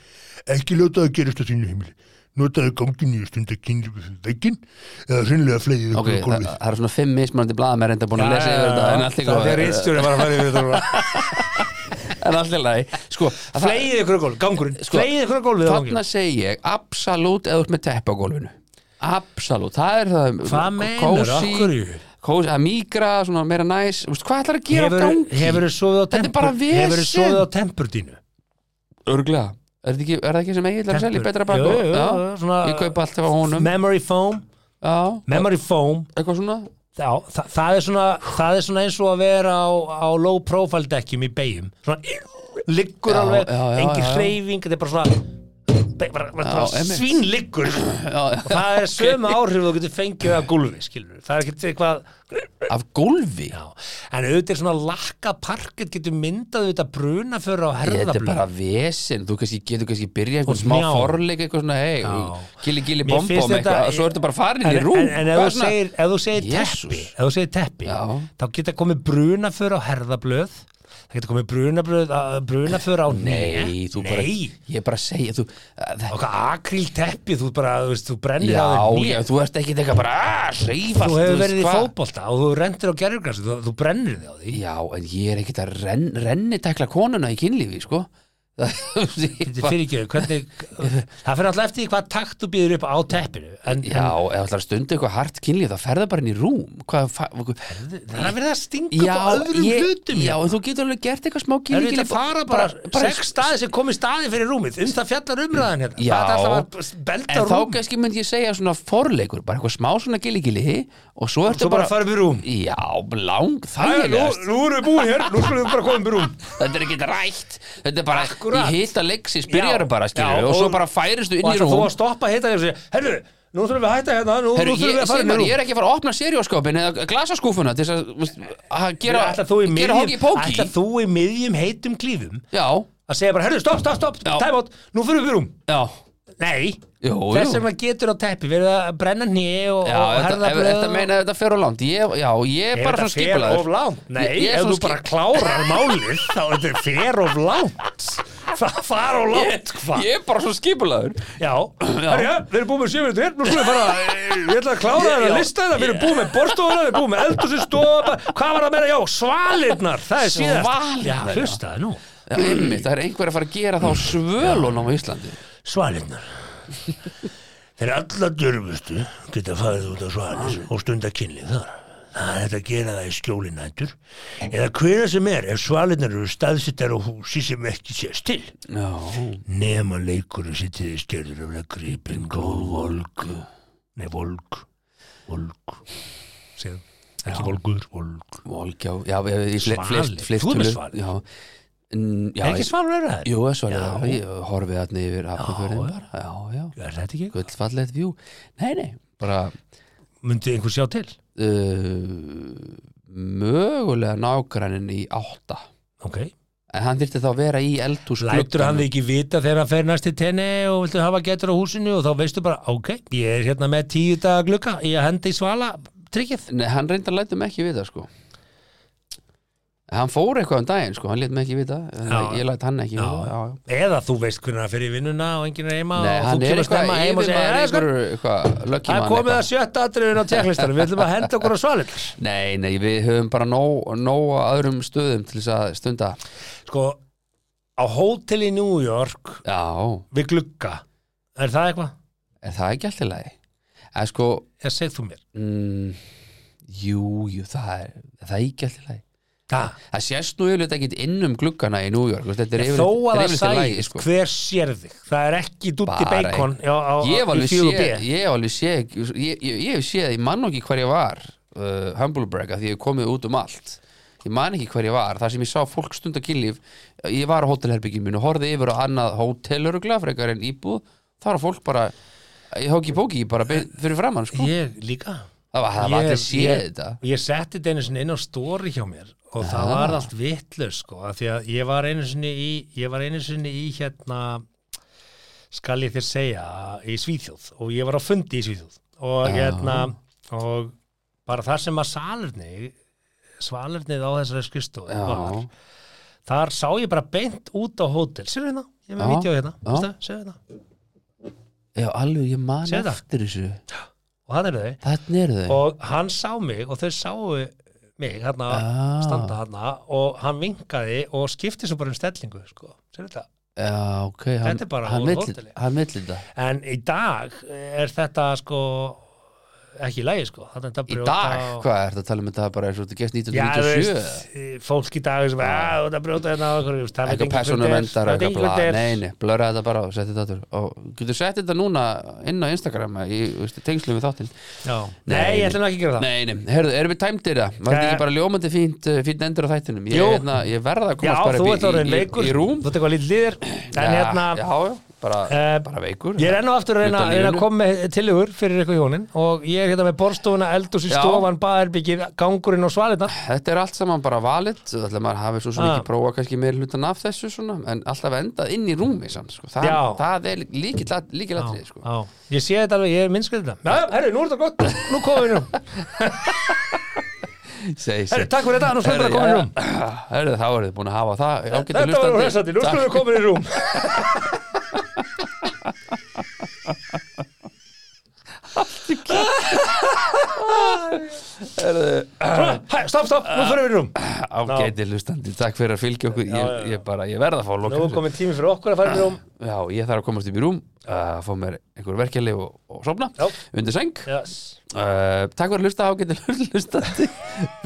D: Ekki láta það gerast á þínu heimili Notaðu gangin í að stunda kynlif upp fyrir veggin eða hreinlega flegið
C: Ok,
D: ykkur á
C: það,
D: gólfið
C: það er svona fimm mismunandi blaðum er reynda búin að lesa yfir þetta en allt í
D: Það er
C: góðu-
D: eittstjóri bara að fara yfir þetta núna.
C: en allt í lagi Sko, að það-
D: Flegið ykkur á gólfið, gangurinn
C: Sko,
D: Flegið ykkur á gólfið á
C: þarna
D: ganginum.
C: segi ég absolutt eða út með teppa á gólfinu absolutt, það er það
D: Hvað meinar,
C: kósí-
D: okkur í
C: kósi, að mígra, svona meira næs Vist, hvað ætlar að gera á
D: Hefur,
C: gangi?
D: hefur sofið á
C: Þetta er
D: tempur
C: bara vesen.
D: Hefur sofið á tempur dínu
C: örglega, er það ekki, er það ekki sem Egil er að selja í betra bakku?
D: Jú, jú,
C: Já,
D: svona-
C: ég kaupa alltaf á honum
D: Memory foam
C: já,
D: Memory foam
C: eitthvað svona
D: Já, þa það, er svona, það er svona eins og að vera á, á low profile dekkjum í beigjum Svona liggur
C: Já,
D: alveg,
C: já, já,
D: engin
C: já.
D: hreyfing Þetta er bara svona be- bara, bara,
C: Já,
D: bara
C: einmitt.
D: svínliggur
C: já,
D: og það er sömu áhrif þú getur fengið að gulvi skilur, það er ekkert eitthvað
C: af gólfi
D: já. en auðvitað er svona lakka parkett getur myndað þetta bruna fyrir á
C: Þetta er bara
D: herðablöð
C: vesen, þú kannski getur kannski byrjað
D: Og
C: einhvern smá
D: njá.
C: forleik eitthvað svona, hei,
D: Já.
C: gilli gilli
D: Mér
C: bombom
D: finnst
C: eitthvað,
D: þetta-
C: svo ertu bara farin
D: en,
C: í rúm
D: en, en ef
C: Hvað
D: þú
C: svona-
D: segir, ef þú segir
C: Jesús.
D: teppi, ef þú segir teppi
C: Já.
D: þá geta komið bruna fyrir á herðablöð það geta komið bruna, bruna fyrir á
C: Nei, þú bara,
D: nei.
C: ég er bara að segja þú, að,
D: Og hvað akríl teppi, þú bara, þú veist, þú brennir
C: Já,
D: á þér
C: já,
D: nýja
C: þú ert ekki eitthvað bara "Ah, að reyfa
D: Þú hefur verið í fótbolta og þú rendir á gerðugrasi, þú, þú brennir þig á því
C: Já, en ég er ekkert að renn, renni tekla konuna í kynlífi, sko
D: Þetta
C: Þetta
D: er fyrir ekki, hvernig Það fyrir alltaf eftir því hvað takt þú býður upp á teppinu en,
C: Já, ef ætlar að stunda eitthvað hart kynlíf þá ferða bara inn í rúm Hvað, fa,
D: en það er verið að stinga
C: já,
D: upp á öðrum
C: ég,
D: hlutum
C: já, en þú getur alveg gert eitthvað smá
D: Það
C: kynlíf
D: eru þetta að fara bara, sex staði sem kom í staði fyrir rúmið um það fjallar umræðan hérna
C: Já.
D: Það er alltaf að belta
C: En þá
D: rúm
C: kannski myndi ég segja svona forleikur bara eitthvað smá svona gilligili og svo ertu
D: Svo bara fara upp í rúm
C: Já, lang, þægilegast
D: nú erum við búin hér, nú skulum við bara koma upp í rúm
C: Þetta er ekki rætt Þetta er bara
D: Akkúrat.
C: í hita leiksins
D: Já,
C: byrjaru bara skilur
D: já,
C: og, og svo
D: og-
C: bara færistu inn
D: Og
C: í
D: ætla
C: rúm
D: þú að stoppa heita þér og segja Herru, nú þurfum við að hætta hérna, nú,
C: Heru,
D: nú
C: ég,
D: þurfum við að fara upp í
C: Sigmar,
D: rúm
C: ég er ekki að fara að opna serióskapin eða glasaskúfuna til þess að, veist, að gera,
D: Ætla þú, í
C: gera hóki í
D: miðjum-
C: póki
D: ætlar þú í miðjum heitum klífum
C: Já,
D: að segja bara, herru, stopp, stopp, stopp,
C: Já.
D: time out, nú fyrir við rúm
C: já,
D: Nei,
C: Jú,
D: þess
C: jú.
D: vegna getur á teppi verið að brenna hné og,
C: já
D: og
C: þetta-
D: herða
C: ef- Þetta meina að þetta fer á land ég, Já, ég er bara svona skipulaður
D: of langt Nei,
C: Ég- ég er
D: ef
C: svona
D: þú
C: skip-
D: bara klárar málið þá er þetta fer of langt Það fara of langt, hvað?
C: Ég er bara svona skipulaður
D: Já, herru, já, við erum búin með 7 minútur hér, nú skulum við fara, eh, ég ætla að klára
C: Já.
D: þetta lista þetta, við erum búin með borstofuna, við erum búin með eldhúsið stofa, hvað var það meira, já, svalirnar, það er síðast.
C: Svalirnar,
D: Já,
C: já.
D: hlustaði nú.
C: Já, einmitt, það er einhver að fara að gera þá svölunum á Íslandi
D: Svalirnar Þeir alla djörfustu geta farið út á svalir og stunda kynlið þar Það er hægt að gera það í skjólinættur eða hvena sem er ef svalirnar eru staðsittar á húsi sem ekki sést til
C: Já,
D: nema leikurinn sér til þess gerður að vera gripin góð volgu Nei, volg Volg Segðu Ekki volgur, volg
C: volgjá Já, við hefum í fle-
D: Svalir,
C: flest, flest
D: þú ert með
C: tölur-
D: svalir.
C: Já, Mm, já,
D: Er ekki
C: ég-
D: svalur eru það?
C: Jú, svo er það, ég horfið þarna yfir Hafnarfjörðin bara, já, já
D: Er þetta ekki?
C: gullfallegt vjú nei, nei, bara
D: Myndi einhver sjá til?
C: uh, mögulega nágrannin í átta
D: Ok
C: en hann þyrfti þá að vera í eldhús
D: Lætur hann þig ekki vita þegar hann fer næst til tenni og viltu hafa getur á húsinu og þá veistu bara, ok, ég er hérna með tíu daga glugga, ég hendi í svala tryggið.
C: nei, hann reyndar lætum ekki vita sko hann fór eitthvað um daginn sko, hann létt mig ekki vita en
D: Já.
C: ég læt hann ekki
D: Já.
C: vita já, já.
D: Eða þú veist hvernig hann fer í vinnuna og enginn er heima
C: Nei,
D: og
C: hann er
D: þú kemur
C: eitthvað
D: snemma heima og segir,
C: yfirmaður
D: "Jæja, sko,
C: einhverju eitthvað löggjum
D: það er komið að sjötta atriðin á tjekklistanum, við ætlum að henda okkur á svalinnar.
C: Nei, nei, við höfum bara nóg, nóg á öðrum stöðum til þess að stunda
D: Sko, á hótel í New York
C: Já,
D: við glugga er það eitthvað?
C: er það ekki alltaf lagi? En sko,
D: eða segð þú mér
C: mm, jú, jú, það er, er það er ekki alltaf lagi
D: það,
C: Það sést nú yfirleitt ekkert inn um gluggana í New York þú veist, Þetta er
D: þó að það
C: yfirleitt í lagi
D: sæði
C: sko.
D: hver sér þig það er ekki dutti
C: Bara
D: bacon já, á, á,
C: Ég hef
D: í
C: alveg
D: fjögur
C: séð
D: B
C: Ég hef alveg séð Ég, ég, ég hef séð, ég man nú ekki hver ég var uh, Humblebrag að því ég hef komið út um allt Ég man ekki hver ég var þar sem ég sá fólk stund að kynlíf Ég var á hótelherbyggjum minn og horfði yfir á annað hótelörugla frekar en íbúð Þar var fólk bara Ég hóki bóki bara bein- fyrir framann sko.
D: ég líka
C: Það var, það var
D: Ég-
C: allir séð
D: ég-
C: þetta
D: og ég setti þetta einu sinni inn á stóri hjá mér og það
C: Ah.
D: var allt vitlaus sko af því að ég var einu sinni í ég var einu sinni í hérna skal ég þér segja í Svíþjóð og ég var á fundi í Svíþjóð og hérna og bara þar sem að salurni svalurnið á þessari skristofu
C: Já.
D: var, þar sá ég bara beint út á hótel sérðu hérna, ég er með
C: Já.
D: vídeo hérna
C: Já.
D: veistu, sérðu hérna,
C: Já, alveg, ég man
D: Séð það?
C: eftir þessu
D: og hann eru þau
C: Þannig eru þau
D: og hann sá mig og þau sáu mig hérna,
C: Ah.
D: standa hérna og hann vinkaði og skipti svo bara um stellingu sko. Sérðu þetta?
C: Já, ok, hann,
D: Þetta er bara
C: hann,
D: úr
C: vill-
D: hóteli.
C: hann vill þetta
D: en í dag er þetta sko ekki í lagi sko Þarna er þetta
C: Í
D: brjóta
C: dag,
D: og- Já,
C: hvað er þetta að tala um þetta bara eins og þetta gerst
D: þú
C: 1997 Ah.
D: veist, fólk í dag sem að þetta brjóta hérna og okkur, þú veist, það veit
C: eitthvað
D: enginn hver
C: persónu
D: þetta
C: vendar
D: er, það veit
C: eitthvað
D: enginn
C: bla,
D: hver þetta er.
C: nei, nei, blöra þetta bara og setja þetta aftur og getur sett þetta núna inn á Instagram í veist, tengslu við þáttinn
D: Já.
C: Nei,
D: nei, ég
C: nei.
D: ætlum ekki að gera það
C: nei, nei, herðu, erum við tæmdir það? var þetta
D: Eh.
C: ekki bara ljómandi fínt, uh, fínt endur á þættinum ég,
D: Jú.
C: hérna, ég verða að
D: já,
C: komast bara
D: þú
C: upp
D: ert orðin
C: í,
D: veikur
C: í, í rúm
D: þú ert eitthvað lítið liður en
C: já,
D: hérna
C: já, já, bara,
D: Eh,
C: bara veikur
D: Ég er enn og aftur að reyna,
C: Utan
D: reyna að
C: lífinu.
D: koma með tilugur fyrir eitthvað hjónin og ég er hérna með borstofuna, eldús í
C: Já.
D: stofan, baðherbyggið, gangurinn og svalirna
C: þetta er allt saman bara valið þannig að maður hafi svo sem
D: Ah.
C: ekki prófa kannski meir hlutan af þessu svona, en alltaf endað inn í rúmi samt, sko. það,
D: Já.
C: það er líkilatrið sko.
D: Já, ég sé þetta alveg, ég er minnskið þetta Já, herru, nú er þetta gott, nú komum við nú
C: Segi,
D: Herru, takk fyrir þetta, nú slöfum við að koma í rúm
C: Herðu, þá eruð þið búin að hafa það ágætu
D: Þetta var
C: hlustandi.
D: nú hressandi, nú
C: Takk.
D: slöfum við að koma í rúm Svona, hæ, Stopp, stopp, nú fyrir við í rúm
C: Ágæti hlustandi, takk fyrir að fylgja okkur Ég, ég, bara, ég verð að fá að loka
D: Nú er
C: þessu.
D: komin tími fyrir okkur að fara í rúm
C: Já, ég þarf að komast upp í rúm að fá mér einhver verkefli og, og sofna
D: Já.
C: undir seng
D: yes.
C: Uh, takk fyrir að hlusta ágæti hlustandi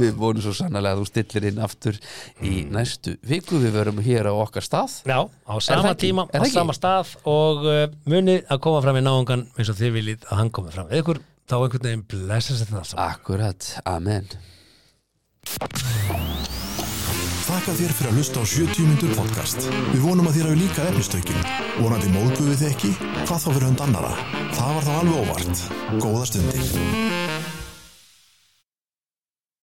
C: Við vonum svo sannlega að þú stillir inn aftur í næstu viku Við verum hér á okkar stað
D: Já, á
C: það
D: sama
C: ekki?
D: tíma,
C: Er
D: á
C: það ekki?
D: sama stað og uh, munið að koma fram í náungan eins og þið viljið að hann komi fram við ykkur, þá einhvern veginn blessa sér það saman
C: Akkurat, amen
B: Þakka þér fyrir að hlusta á 70 mínútur podcast. Við vonum að þér hafi líka efnistökin. Vonandi móðguðu þið ekki? Hvað þá fyrir hund annara? Það var þá alveg óvart. Góða stundir.